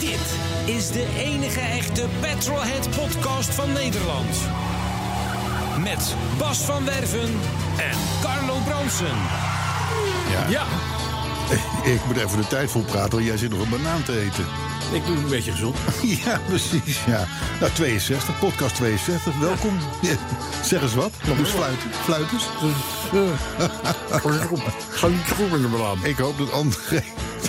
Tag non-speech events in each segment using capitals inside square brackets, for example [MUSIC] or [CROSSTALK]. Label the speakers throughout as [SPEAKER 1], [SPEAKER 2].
[SPEAKER 1] Dit is de enige echte Petrolhead podcast van Nederland. Met Bas van Werven en Carlo Bronsen.
[SPEAKER 2] Ja.
[SPEAKER 1] Ja,
[SPEAKER 2] Ik moet even de tijd vol praten, want jij zit nog een banaan te eten.
[SPEAKER 3] Ik doe het een beetje gezond.
[SPEAKER 2] [LAUGHS] Ja, precies. Ja. Nou, 62, podcast 62, welkom. [LAUGHS] Ja. Zeg eens wat. Dus fluiten. Fluiters.
[SPEAKER 3] Eh, Ga niet goed met de
[SPEAKER 2] [LAUGHS]
[SPEAKER 3] banaan.
[SPEAKER 2] Ik hoop dat André,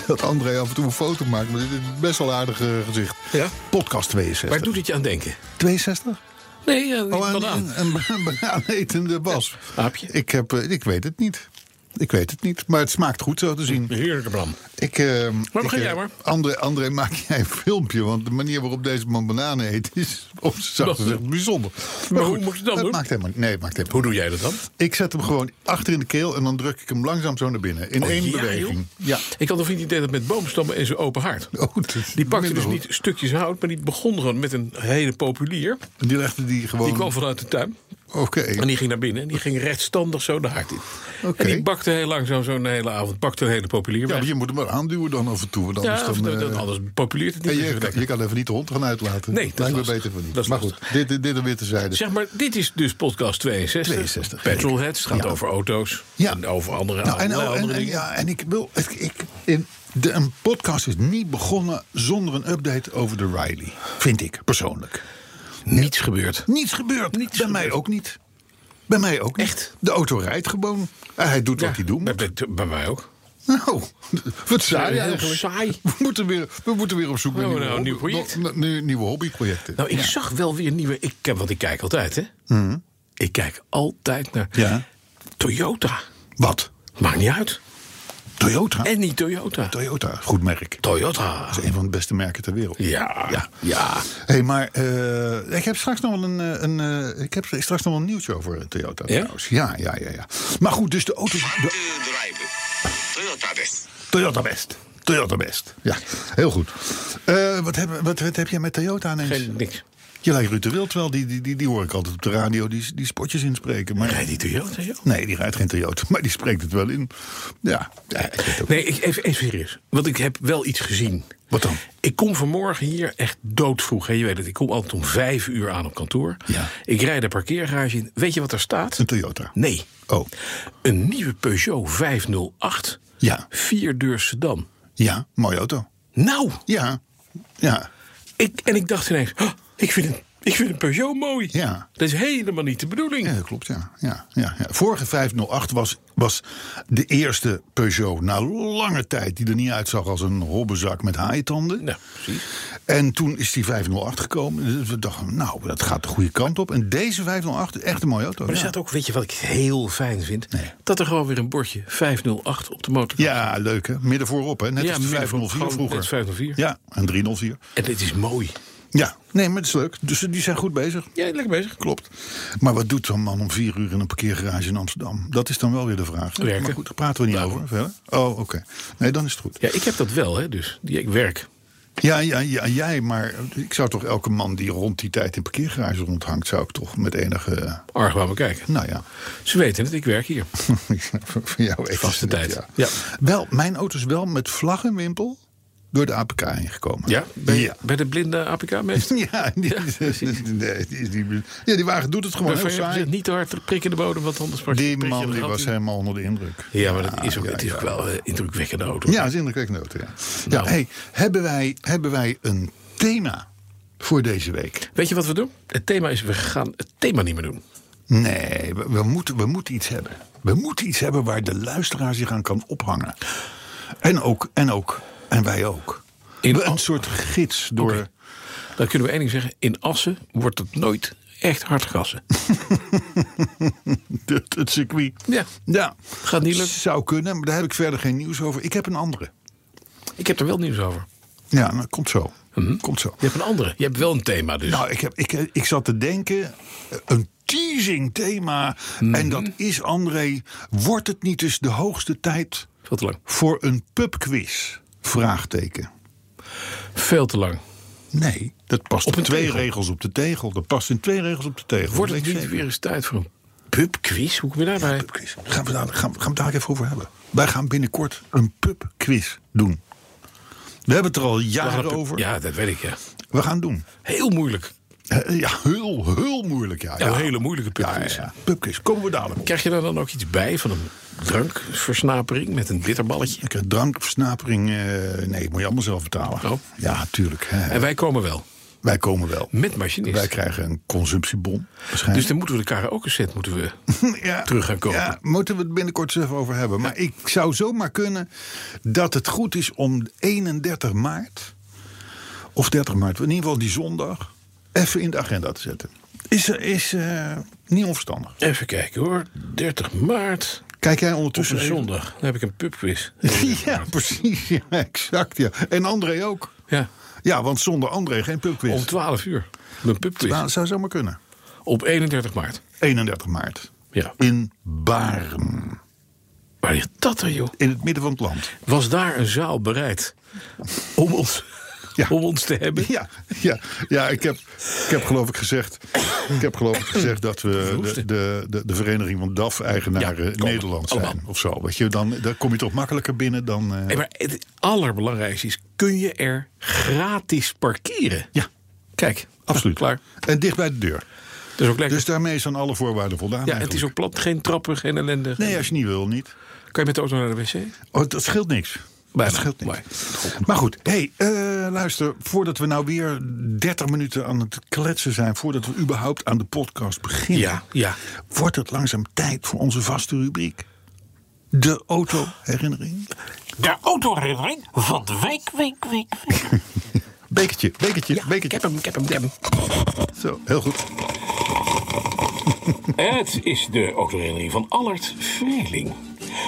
[SPEAKER 2] dat André af en toe een foto maakt, maar dit is best wel een aardig eh, gezicht.
[SPEAKER 3] Ja?
[SPEAKER 2] Podcast 62.
[SPEAKER 3] Waar doet het je aan denken?
[SPEAKER 2] 62?
[SPEAKER 3] Nee, ja, niet
[SPEAKER 2] Oh, een,
[SPEAKER 3] banaan.
[SPEAKER 2] een, een banaan etende Bas.
[SPEAKER 3] Aapje.
[SPEAKER 2] Ik, heb, eh, ik weet het niet. Ik weet het niet, maar het smaakt goed zo te zien.
[SPEAKER 3] Een Heerlijke bram.
[SPEAKER 2] Ik, eh, ik,
[SPEAKER 3] begin
[SPEAKER 2] eh,
[SPEAKER 3] jij maar.
[SPEAKER 2] André, André, maak jij een filmpje. Want de manier waarop deze man bananen eet is, [LAUGHS] oh, op zijn zacht
[SPEAKER 3] Dat-
[SPEAKER 2] gezegd, bijzonder.
[SPEAKER 3] hoe moet je het dan
[SPEAKER 2] dat
[SPEAKER 3] doen?
[SPEAKER 2] Maakt helemaal, niet- nee, het maakt helemaal
[SPEAKER 3] Hoe doe jij dat dan?
[SPEAKER 2] niet. Ik zet hem gewoon achter in de keel en dan druk ik hem langzaam zo naar binnen. In
[SPEAKER 3] Oh,
[SPEAKER 2] één
[SPEAKER 3] ja,
[SPEAKER 2] beweging.
[SPEAKER 3] joh.
[SPEAKER 2] Ja.
[SPEAKER 3] Ik had een vriend die deed dat met boomstammen en zijn open haard.
[SPEAKER 2] Oh, dat is
[SPEAKER 3] Die pakte
[SPEAKER 2] minder
[SPEAKER 3] dus
[SPEAKER 2] goed.
[SPEAKER 3] niet stukjes hout, maar die begon gewoon met een hele populier.
[SPEAKER 2] Die legde die gewoon...
[SPEAKER 3] Die kwam vanuit de tuin
[SPEAKER 2] Oké.
[SPEAKER 3] en die ging naar binnen. En die ging rechtstandig zo de haard in.
[SPEAKER 2] Oké.
[SPEAKER 3] En die bakte heel langzaam zo de hele avond. Bakte een hele populier
[SPEAKER 2] Ja,
[SPEAKER 3] weg.
[SPEAKER 2] maar je moet hem wel aanduwen dan af en toe. Want anders
[SPEAKER 3] Ja,
[SPEAKER 2] dan,
[SPEAKER 3] of dat-
[SPEAKER 2] eh,
[SPEAKER 3] dat- anders populeert het niet.
[SPEAKER 2] en
[SPEAKER 3] meer zo
[SPEAKER 2] je, kan-
[SPEAKER 3] lekker.
[SPEAKER 2] je kan even niet de hond gaan uitlaten.
[SPEAKER 3] Nee, dat is
[SPEAKER 2] Lijkt me
[SPEAKER 3] lastig.
[SPEAKER 2] beter van niet.
[SPEAKER 3] Dat is
[SPEAKER 2] maar goed,
[SPEAKER 3] lastig.
[SPEAKER 2] dit, dit, dit er weer te zijde.
[SPEAKER 3] Zeg maar, dit is dus podcast 62.
[SPEAKER 2] 62,
[SPEAKER 3] Petrolheads. Het gaat
[SPEAKER 2] Ja.
[SPEAKER 3] over auto's.
[SPEAKER 2] Ja.
[SPEAKER 3] En over andere,
[SPEAKER 2] Nou, en,
[SPEAKER 3] andere
[SPEAKER 2] oh, en- en-
[SPEAKER 3] dingen.
[SPEAKER 2] ja, en ik wil. Ik, ik, in, de, een podcast is niet begonnen zonder een update over de Riley. Vind ik persoonlijk.
[SPEAKER 3] Niets gebeurd.
[SPEAKER 2] Niets gebeurd. Bij mij ook niet. Bij mij ook niet.
[SPEAKER 3] Echt?
[SPEAKER 2] De auto rijdt gewoon. En hij doet wat hij doen
[SPEAKER 3] bij,
[SPEAKER 2] moet.
[SPEAKER 3] bij- bij mij ook.
[SPEAKER 2] Nou, [LAUGHS] wat saai
[SPEAKER 3] heel
[SPEAKER 2] eigenlijk.
[SPEAKER 3] saai.
[SPEAKER 2] [LAUGHS] We moeten weer, we moeten weer op zoek naar
[SPEAKER 3] Oh,
[SPEAKER 2] nieuwe,
[SPEAKER 3] nou, een nieuw
[SPEAKER 2] hobby-
[SPEAKER 3] project.
[SPEAKER 2] nog- nou, nieuwe hobbyprojecten.
[SPEAKER 3] Nou, ik zag wel weer nieuwe... Ik, ken- want ik kijk altijd, hè. Ik kijk altijd naar
[SPEAKER 2] Hmm. Ja.
[SPEAKER 3] Toyota.
[SPEAKER 2] Wat?
[SPEAKER 3] Maakt niet uit.
[SPEAKER 2] Toyota?
[SPEAKER 3] En niet Toyota.
[SPEAKER 2] Toyota, goed merk.
[SPEAKER 3] Toyota.
[SPEAKER 2] Dat is een van de beste merken ter wereld.
[SPEAKER 3] Ja. Ja.
[SPEAKER 2] Hé, hey, maar eh, ik heb straks nog wel een, eh, een eh, ik heb straks nog wel een nieuwtje over eh, Toyota.
[SPEAKER 3] Ja?
[SPEAKER 2] trouwens. Ja, ja, ja, ja. Maar goed, dus de auto.
[SPEAKER 4] ドライブ
[SPEAKER 2] de
[SPEAKER 4] トヨタです
[SPEAKER 2] Toyota best. Toyota best. Ja, heel goed. Eh, wat, heb, wat, wat heb jij met Toyota ineens?
[SPEAKER 3] Geen niks.
[SPEAKER 2] Je lijkt Ruud de Wild wel, die, die, die, die hoor ik altijd op de radio, die, die spotjes inspreken. Maar...
[SPEAKER 3] Rijdt die Toyota, joh?
[SPEAKER 2] Nee, die rijdt geen Toyota, [LAUGHS] maar die spreekt het wel in. Ja, ja ik weet het ook.
[SPEAKER 3] Nee, ik, even, even serieus. Want ik heb wel iets gezien.
[SPEAKER 2] Wat dan?
[SPEAKER 3] Ik kom vanmorgen hier echt doodvroeg. Hè? Je weet het, ik kom altijd om vijf uur aan op kantoor.
[SPEAKER 2] Ja.
[SPEAKER 3] Ik rijd de parkeergarage in. Weet je wat er staat?
[SPEAKER 2] een Toyota.
[SPEAKER 3] Nee.
[SPEAKER 2] Oh,
[SPEAKER 3] Een nieuwe Peugeot 508.
[SPEAKER 2] Ja.
[SPEAKER 3] Vierdeur sedan.
[SPEAKER 2] ja, mooie auto.
[SPEAKER 3] Nou,
[SPEAKER 2] Ja, ja.
[SPEAKER 3] ik, en ik dacht ineens... "Oh, ik, vind een, ik vind een Peugeot mooi.
[SPEAKER 2] Ja.
[SPEAKER 3] Dat is helemaal niet de bedoeling.
[SPEAKER 2] Ja, dat klopt, ja. ja, ja, ja. Vorige 508 was, was de eerste Peugeot na lange tijd... die er niet uitzag als een robbezak met haaitanden.
[SPEAKER 3] Nou, precies.
[SPEAKER 2] En toen is die 508 gekomen. Dus we dachten, nou, dat gaat de goede kant op. En deze 508, echt een mooie auto.
[SPEAKER 3] Maar er
[SPEAKER 2] ja.
[SPEAKER 3] staat ook, weet je wat ik heel fijn vind?
[SPEAKER 2] Nee.
[SPEAKER 3] Dat er gewoon weer een bordje 508 op de motor
[SPEAKER 2] ja, leuk, hè? Midden voorop, hè? Net
[SPEAKER 3] Ja,
[SPEAKER 2] als de
[SPEAKER 3] midden
[SPEAKER 2] 504
[SPEAKER 3] voorop, gewoon
[SPEAKER 2] vroeger.
[SPEAKER 3] net 504.
[SPEAKER 2] Ja, en 304.
[SPEAKER 3] En dit is mooi.
[SPEAKER 2] Ja, nee, maar het is leuk. Dus die zijn goed bezig.
[SPEAKER 3] Ja, lekker bezig.
[SPEAKER 2] Klopt. Maar wat doet zo'n man om vier uur in een parkeergarage in Amsterdam? Dat is dan wel weer de vraag.
[SPEAKER 3] Werken. Nou.
[SPEAKER 2] Maar goed, daar praten we niet over. Verder? Oh, oké. Nee, dan is het goed.
[SPEAKER 3] Ja, ik heb dat wel, hè, dus. Die, ik werk.
[SPEAKER 2] Ja, ja, ja, jij, maar ik zou toch elke man die rond die tijd in parkeergarage rondhangt, zou ik toch met enige. eh,
[SPEAKER 3] Arg waar we kijken.
[SPEAKER 2] Nou ja, [LAUGHS]
[SPEAKER 3] Ze weten het, ik werk hier.
[SPEAKER 2] van jou weten
[SPEAKER 3] Vaste
[SPEAKER 2] ze het,
[SPEAKER 3] tijd.
[SPEAKER 2] Ja.
[SPEAKER 3] Ja.
[SPEAKER 2] Wel, mijn auto is wel met vlag en wimpel door de APK ingekomen.
[SPEAKER 3] Ja? Bij,
[SPEAKER 2] ja. [LAUGHS]
[SPEAKER 3] bij de blinde APK-meester?
[SPEAKER 2] Ja, die, nee, die is niet- ja, die wagen doet het gewoon heel saai.
[SPEAKER 3] niet te hard prik in de bodem, want anders prik-
[SPEAKER 2] Die
[SPEAKER 3] prik je
[SPEAKER 2] man
[SPEAKER 3] er
[SPEAKER 2] die
[SPEAKER 3] gat
[SPEAKER 2] was
[SPEAKER 3] in.
[SPEAKER 2] helemaal onder de indruk.
[SPEAKER 3] Ja, maar dat is ook,
[SPEAKER 2] Ah, ja,
[SPEAKER 3] het is
[SPEAKER 2] ja.
[SPEAKER 3] ook wel
[SPEAKER 5] eh,
[SPEAKER 3] een indrukwekkende auto.
[SPEAKER 2] Ja, dat is indrukwekkend auto, ja.
[SPEAKER 3] Nou.
[SPEAKER 2] ja hey, hebben, wij, hebben wij een thema voor deze week?
[SPEAKER 3] Weet je wat we doen? Het thema is, we gaan het thema niet meer doen.
[SPEAKER 2] Nee, we, we moeten, we moeten iets hebben. We moeten iets hebben waar de luisteraar zich aan kan ophangen. En ook, en ook, en wij ook.
[SPEAKER 3] In
[SPEAKER 2] We- een
[SPEAKER 3] al-
[SPEAKER 2] soort gids door...
[SPEAKER 3] Oké.
[SPEAKER 5] Dan kunnen we één ding zeggen. In Assen wordt het nooit echt hard gassen.
[SPEAKER 2] Het, het circuit.
[SPEAKER 5] Ja.
[SPEAKER 2] [LAUGHS] Ja.
[SPEAKER 5] Gaat niet lukken.
[SPEAKER 2] Zou kunnen, maar daar heb ik verder geen nieuws over. Ik heb een andere.
[SPEAKER 5] Ik heb er wel nieuws over.
[SPEAKER 2] Ja, maar komt zo. Komt zo.
[SPEAKER 5] Je hebt een andere. Je hebt wel een thema dus.
[SPEAKER 2] Nou, ik, heb, ik, ik zat te denken, eh, een teasing thema.
[SPEAKER 5] Mhm.
[SPEAKER 2] En dat is, André, wordt het niet eens de hoogste tijd
[SPEAKER 5] veel te lang.
[SPEAKER 2] voor een pubquiz? Vraagteken.
[SPEAKER 5] Veel te lang.
[SPEAKER 2] Nee, dat past
[SPEAKER 5] Op
[SPEAKER 2] op
[SPEAKER 5] een
[SPEAKER 2] twee
[SPEAKER 5] tegel.
[SPEAKER 2] regels op de tegel. Dat past in twee regels op de tegel.
[SPEAKER 5] Wordt het
[SPEAKER 2] Dat weet ik
[SPEAKER 5] niet
[SPEAKER 2] zeker.
[SPEAKER 5] weer eens tijd voor een pubquiz? Hoe kom je daarbij?
[SPEAKER 2] Pubquiz. Gaan we, daar, gaan, we- gaan we daar even over hebben. Wij gaan binnenkort een pubquiz doen. We hebben het er al jaren over.
[SPEAKER 5] Ja, dat weet ik ja.
[SPEAKER 2] We gaan doen.
[SPEAKER 5] Heel moeilijk.
[SPEAKER 2] Eh, Ja, heel, heel moeilijk. Ja,
[SPEAKER 5] Ja, een hele moeilijke pubquiz.
[SPEAKER 2] Ja, ja, ja. Pubquiz. Komen we dadelijk op.
[SPEAKER 5] Krijg je daar dan ook iets bij van een drankversnapering met een bitterballetje?
[SPEAKER 2] Ik heb drankversnapering. eh, nee, moet je allemaal zelf betalen.
[SPEAKER 5] Oh.
[SPEAKER 2] Ja, tuurlijk. hè.
[SPEAKER 5] En wij komen wel.
[SPEAKER 2] Wij komen wel.
[SPEAKER 5] Met machinist.
[SPEAKER 2] Wij krijgen een consumptiebon.
[SPEAKER 5] Dus
[SPEAKER 2] Waarschijnlijk.
[SPEAKER 5] dan moeten we de karaoke set moeten we
[SPEAKER 2] [LAUGHS] ja,
[SPEAKER 5] Dus terug gaan kopen.
[SPEAKER 2] Ja, moeten we het binnenkort eens even over hebben. Maar ik zou zomaar kunnen dat het goed is om 31 maart. Of 30 maart, in ieder geval die zondag. Even in de agenda te zetten. Is, is eh, niet onverstandig.
[SPEAKER 5] Even kijken hoor. 30 maart
[SPEAKER 2] Kijk jij
[SPEAKER 5] op
[SPEAKER 2] ondertussen
[SPEAKER 5] een
[SPEAKER 2] even?
[SPEAKER 5] zondag. Oh, Dan heb ik een pubquiz.
[SPEAKER 2] [LAUGHS] Ja, precies. Ja, exact. Ja. En André ook.
[SPEAKER 5] Ja.
[SPEAKER 2] Ja, want zonder André geen pubquiz.
[SPEAKER 5] Om 12 uur. Een pubquiz.
[SPEAKER 2] Nou, zou zomaar kunnen.
[SPEAKER 5] Op 31 maart.
[SPEAKER 2] 31 maart.
[SPEAKER 5] Ja.
[SPEAKER 2] In Baren.
[SPEAKER 5] Waar ligt dat dan joh?
[SPEAKER 2] In het midden van het land.
[SPEAKER 5] Was daar een zaal bereid om ons,
[SPEAKER 2] [LAUGHS] Ja.
[SPEAKER 5] om ons te hebben?
[SPEAKER 2] Ja, ja, ja ik, heb, ik heb geloof ik gezegd. Ik heb geloof ik gezegd dat we de, de, de, de vereniging van DAF-eigenaren
[SPEAKER 5] Ja, komen.
[SPEAKER 2] Nederland zijn.
[SPEAKER 5] Allemaal.
[SPEAKER 2] Of zo. Weet je, dan, daar kom je toch makkelijker binnen dan. eh,
[SPEAKER 5] Hey, maar het allerbelangrijkste is, kun je er gratis parkeren?
[SPEAKER 2] ja,
[SPEAKER 5] Kijk,
[SPEAKER 2] absoluut.
[SPEAKER 5] Klaar.
[SPEAKER 2] En dicht bij de deur.
[SPEAKER 5] Dat is ook lekker.
[SPEAKER 2] Dus daarmee zijn alle voorwaarden voldaan.
[SPEAKER 5] ja, het is
[SPEAKER 2] eigenlijk.
[SPEAKER 5] ook plat, geen trappen, geen ellende.
[SPEAKER 2] Nee, als je niet wil, niet.
[SPEAKER 5] Kan je met de auto naar de wc?
[SPEAKER 2] Oh, dat scheelt niks.
[SPEAKER 5] Bijna.
[SPEAKER 2] Dat scheelt niks.
[SPEAKER 5] Mooi.
[SPEAKER 2] Maar goed, hey, eh, luister, voordat we nou weer 30 minuten aan het kletsen zijn, voordat we überhaupt aan de podcast beginnen,
[SPEAKER 5] Ja, ja.
[SPEAKER 2] wordt het langzaam tijd voor onze vaste rubriek. De autoherinnering.
[SPEAKER 3] De autoherinnering van de week, week, week, week.
[SPEAKER 2] Bekertje, bekertje,
[SPEAKER 5] Ik
[SPEAKER 2] bekertje.
[SPEAKER 5] heb hem, ik heb hem, ik heb hem.
[SPEAKER 2] Zo, heel goed.
[SPEAKER 3] Het is de autoherinnering van Allard Vreeling.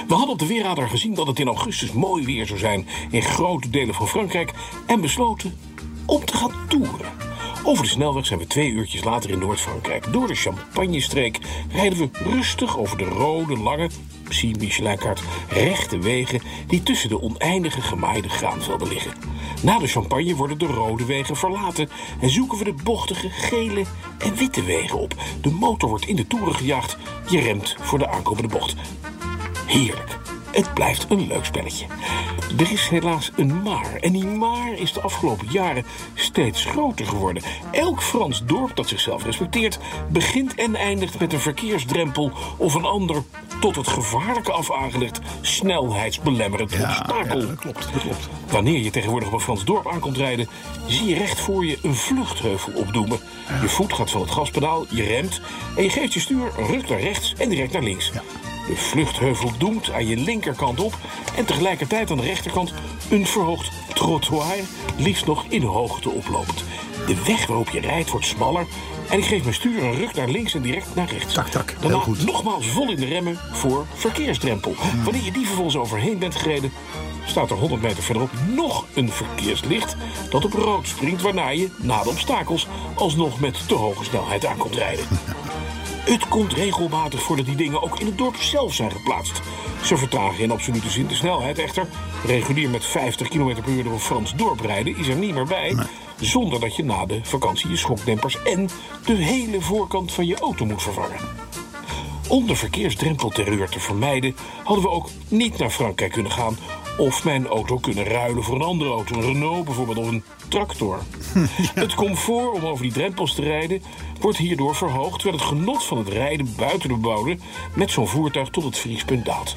[SPEAKER 3] We hadden op de weerradar gezien dat het in augustus mooi weer zou zijn in grote delen van Frankrijk en besloten om te gaan toeren. Over de snelweg zijn we twee uurtjes later in Noord-Frankrijk. Door de Champagne-streek rijden we rustig over de rode, lange, zie Michelin-kaart, rechte wegen die tussen de oneindige gemaaide graanvelden liggen. Na de Champagne worden de rode wegen verlaten en zoeken we de bochtige, gele en witte wegen op. De motor wordt in de toeren gejaagd, je remt voor de aankomende bocht. Heerlijk. Het blijft een leuk spelletje. Er is helaas een maar. En die maar is de afgelopen jaren steeds groter geworden. Elk Frans dorp dat zichzelf respecteert, begint en eindigt met een verkeersdrempel of een ander tot het gevaarlijke af aangelegd snelheidsbelemmerend obstakel.
[SPEAKER 2] dat klopt, dat klopt.
[SPEAKER 3] Wanneer je tegenwoordig op een Frans dorp aankomt rijden, zie je recht voor je een vluchtheuvel opdoemen. Je voet gaat van het gaspedaal, je remt en je geeft je stuur een ruk naar rechts en direct naar links. De vluchtheuvel doemt aan je linkerkant op en tegelijkertijd aan de rechterkant een verhoogd trottoir, liefst nog in hoogte oplopend. De weg waarop je rijdt wordt smaller en ik geef mijn stuur een ruk naar links en direct naar rechts.
[SPEAKER 2] Tak, tak. Heel
[SPEAKER 3] Daarna
[SPEAKER 2] goed.
[SPEAKER 3] nogmaals vol in de remmen voor verkeersdrempel. Wanneer je die vervolgens overheen bent gereden, staat er 100 meter verderop nog een verkeerslicht dat op rood springt, waarna je na de obstakels alsnog met te hoge snelheid aan komt rijden. Het komt regelmatig voor dat die dingen ook in het dorp zelf zijn geplaatst. Ze vertragen in absolute zin de snelheid echter. Regulier met 50 km per uur door een Frans dorp rijden is er niet meer bij. Zonder dat je na de vakantie je schokdempers en de hele voorkant van je auto moet vervangen. Om de verkeersdrempelterreur te vermijden, hadden we ook niet naar Frankrijk kunnen gaan. Of mijn auto kunnen ruilen voor een andere auto, een Renault bijvoorbeeld of een tractor. Het comfort om over die drempels te rijden wordt hierdoor verhoogd, terwijl het genot van het rijden buiten de bebouwde met zo'n voertuig tot het vriespunt daalt.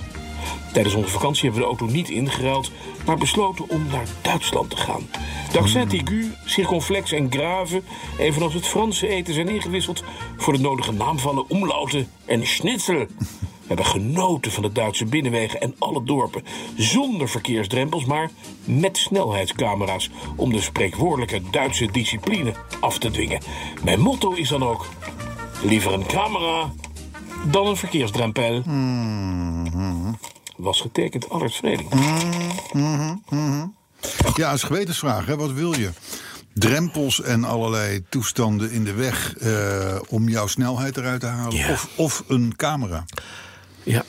[SPEAKER 3] Tijdens onze vakantie hebben we de auto niet ingeruild, maar besloten om naar Duitsland te gaan. De accent aigu, circonflex en grave, evenals
[SPEAKER 6] [LAUGHS]
[SPEAKER 3] het Franse eten, zijn ingewisseld voor de nodige naamvallen, omlauten en schnitzel.
[SPEAKER 6] hebben genoten van de Duitse binnenwegen en alle dorpen. Zonder verkeersdrempels, maar met snelheidscamera's. Om de spreekwoordelijke Duitse discipline af te dwingen. Mijn motto is dan ook: liever een camera dan een verkeersdrempel. Was getekend Allard Vreding.
[SPEAKER 2] Ja, is gewetensvraag. Hè? Wat wil je? Drempels en allerlei toestanden in de weg eh, om jouw snelheid eruit te halen.
[SPEAKER 3] Ja.
[SPEAKER 2] Of, of een camera.
[SPEAKER 3] Ja,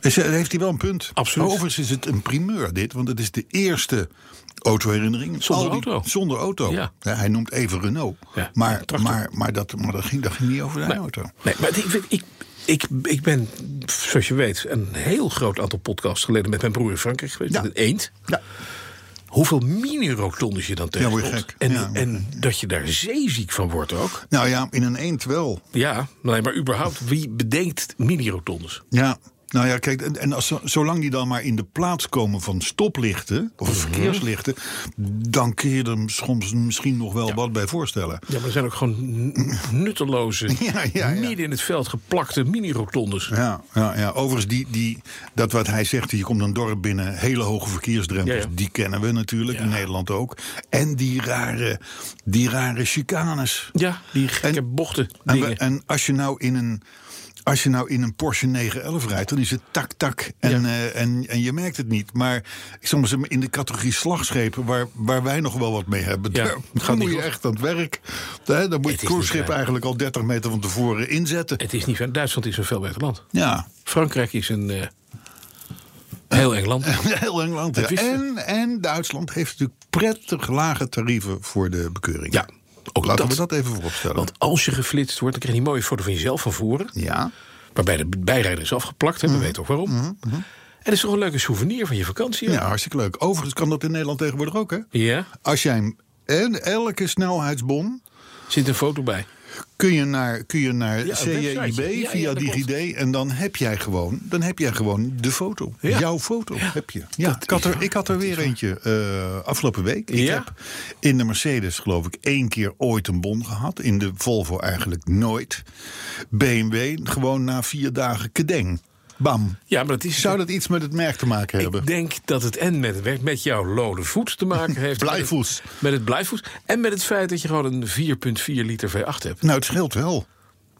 [SPEAKER 2] Is- Heeft hij wel een punt?
[SPEAKER 3] Absoluut.
[SPEAKER 2] Overigens is het een primeur dit, want het is de eerste autoherinnering.
[SPEAKER 3] Zonder
[SPEAKER 2] Al die-
[SPEAKER 3] auto.
[SPEAKER 2] Zonder auto.
[SPEAKER 3] Ja.
[SPEAKER 2] hij noemt even Renault.
[SPEAKER 3] Ja,
[SPEAKER 2] Maar,
[SPEAKER 3] een tractor.
[SPEAKER 2] maar, maar, dat, maar dat, ging, dat ging niet over zijn auto.
[SPEAKER 3] Nee, maar ik, weet- ik, ik, ik ben, zoals je weet, een heel groot aantal podcasts geleden met mijn broer in Frankrijk geweest.
[SPEAKER 2] Ja.
[SPEAKER 3] Met een eend.
[SPEAKER 2] Ja.
[SPEAKER 3] Hoeveel mini-rotondes je dan tegenkomt.
[SPEAKER 2] word je gek.
[SPEAKER 3] En,
[SPEAKER 2] Ja, word je
[SPEAKER 3] en dat je daar zeeziek van wordt ook.
[SPEAKER 2] Nou ja, in een eend wel.
[SPEAKER 3] Ja, nee, maar überhaupt, wie bedenkt mini-rotondes?
[SPEAKER 2] Ja. Nou ja, kijk, en- en als, zo- zolang die dan maar in de plaats komen van stoplichten
[SPEAKER 3] Mhm.
[SPEAKER 2] of verkeerslichten, dan kun je er soms misschien nog wel wat bij voorstellen.
[SPEAKER 3] Ja, maar er zijn ook gewoon n- nutteloze,
[SPEAKER 2] [LAUGHS] Ja, ja, ja.
[SPEAKER 3] midden in het veld geplakte mini-rotondes.
[SPEAKER 2] Ja, ja, ja. overigens, die, die, dat wat hij zegt, je komt een dorp binnen, hele hoge verkeersdrempels,
[SPEAKER 3] Ja, ja.
[SPEAKER 2] die kennen we natuurlijk, in Nederland ook. En die rare, die rare chicanes.
[SPEAKER 3] Ja, die gekke
[SPEAKER 2] En-
[SPEAKER 3] bochten
[SPEAKER 2] En,
[SPEAKER 3] dingen.
[SPEAKER 2] we- en als je nou in een. Als je nou in een Porsche 911 rijdt, dan is het tak-tak. En,
[SPEAKER 3] Ja.
[SPEAKER 2] eh, en, en je merkt het niet. Maar soms in de categorie slagschepen, waar, waar wij nog wel wat mee hebben.
[SPEAKER 3] Ja,
[SPEAKER 2] daar-
[SPEAKER 3] het gaat
[SPEAKER 2] dan
[SPEAKER 3] niet
[SPEAKER 2] moet je
[SPEAKER 3] goed.
[SPEAKER 2] echt aan het werk. Hè, Dan moet je
[SPEAKER 3] Het
[SPEAKER 2] het
[SPEAKER 3] is niet
[SPEAKER 2] cruiseschip
[SPEAKER 3] fijn.
[SPEAKER 2] eigenlijk al 30 meter van tevoren inzetten.
[SPEAKER 3] Het is niet van Duitsland is een veel beter land.
[SPEAKER 2] Ja,
[SPEAKER 3] Frankrijk is een eh, heel eng
[SPEAKER 2] Eh,
[SPEAKER 3] land.
[SPEAKER 2] [LAUGHS] heel Engeland.
[SPEAKER 3] Dat
[SPEAKER 2] Ja.
[SPEAKER 3] wisten we.
[SPEAKER 2] En, en Duitsland heeft natuurlijk prettig lage tarieven voor de bekeuring.
[SPEAKER 3] Ja, ook
[SPEAKER 2] Laten
[SPEAKER 3] dat.
[SPEAKER 2] we dat even vooropstellen.
[SPEAKER 3] Want als je geflitst wordt, dan krijg je een mooie foto van jezelf van voren.
[SPEAKER 2] ja, Mhm.
[SPEAKER 3] Waarbij de bijrijder is afgeplakt, hè, we weten ook waarom. En dat is toch een leuke souvenir van je vakantie? ook?
[SPEAKER 2] ja, hartstikke leuk. Overigens kan dat in Nederland tegenwoordig ook, hè?
[SPEAKER 3] ja.
[SPEAKER 2] Als jij hem- en elke snelheidsbon
[SPEAKER 3] Zit een foto bij.
[SPEAKER 2] kun je naar, kun je naar
[SPEAKER 3] Ja, een
[SPEAKER 2] CJIB
[SPEAKER 3] website. Ja, ja,
[SPEAKER 2] via
[SPEAKER 3] dat
[SPEAKER 2] DigiD en dan heb jij gewoon, dan heb jij gewoon de foto,
[SPEAKER 3] Ja.
[SPEAKER 2] jouw foto heb je. Ja,
[SPEAKER 3] dat
[SPEAKER 2] ik had
[SPEAKER 3] is
[SPEAKER 2] er, ik had er weer eentje eh, afgelopen week. Ik
[SPEAKER 3] Ja?
[SPEAKER 2] heb in de Mercedes geloof ik één keer ooit een bon gehad, in de Volvo eigenlijk nooit. BMW gewoon na vier dagen kedeng, bam.
[SPEAKER 3] Ja, maar dat is.
[SPEAKER 2] Zou dat iets met het merk te maken hebben?
[SPEAKER 3] Ik denk dat het en met, met- met jouw lode voet te maken
[SPEAKER 2] [LAUGHS]
[SPEAKER 3] heeft.
[SPEAKER 2] Blijvoets.
[SPEAKER 3] Met het, met het blijvoet. En met het feit dat je gewoon een 4,4 liter V8 hebt.
[SPEAKER 2] Nou, het scheelt wel.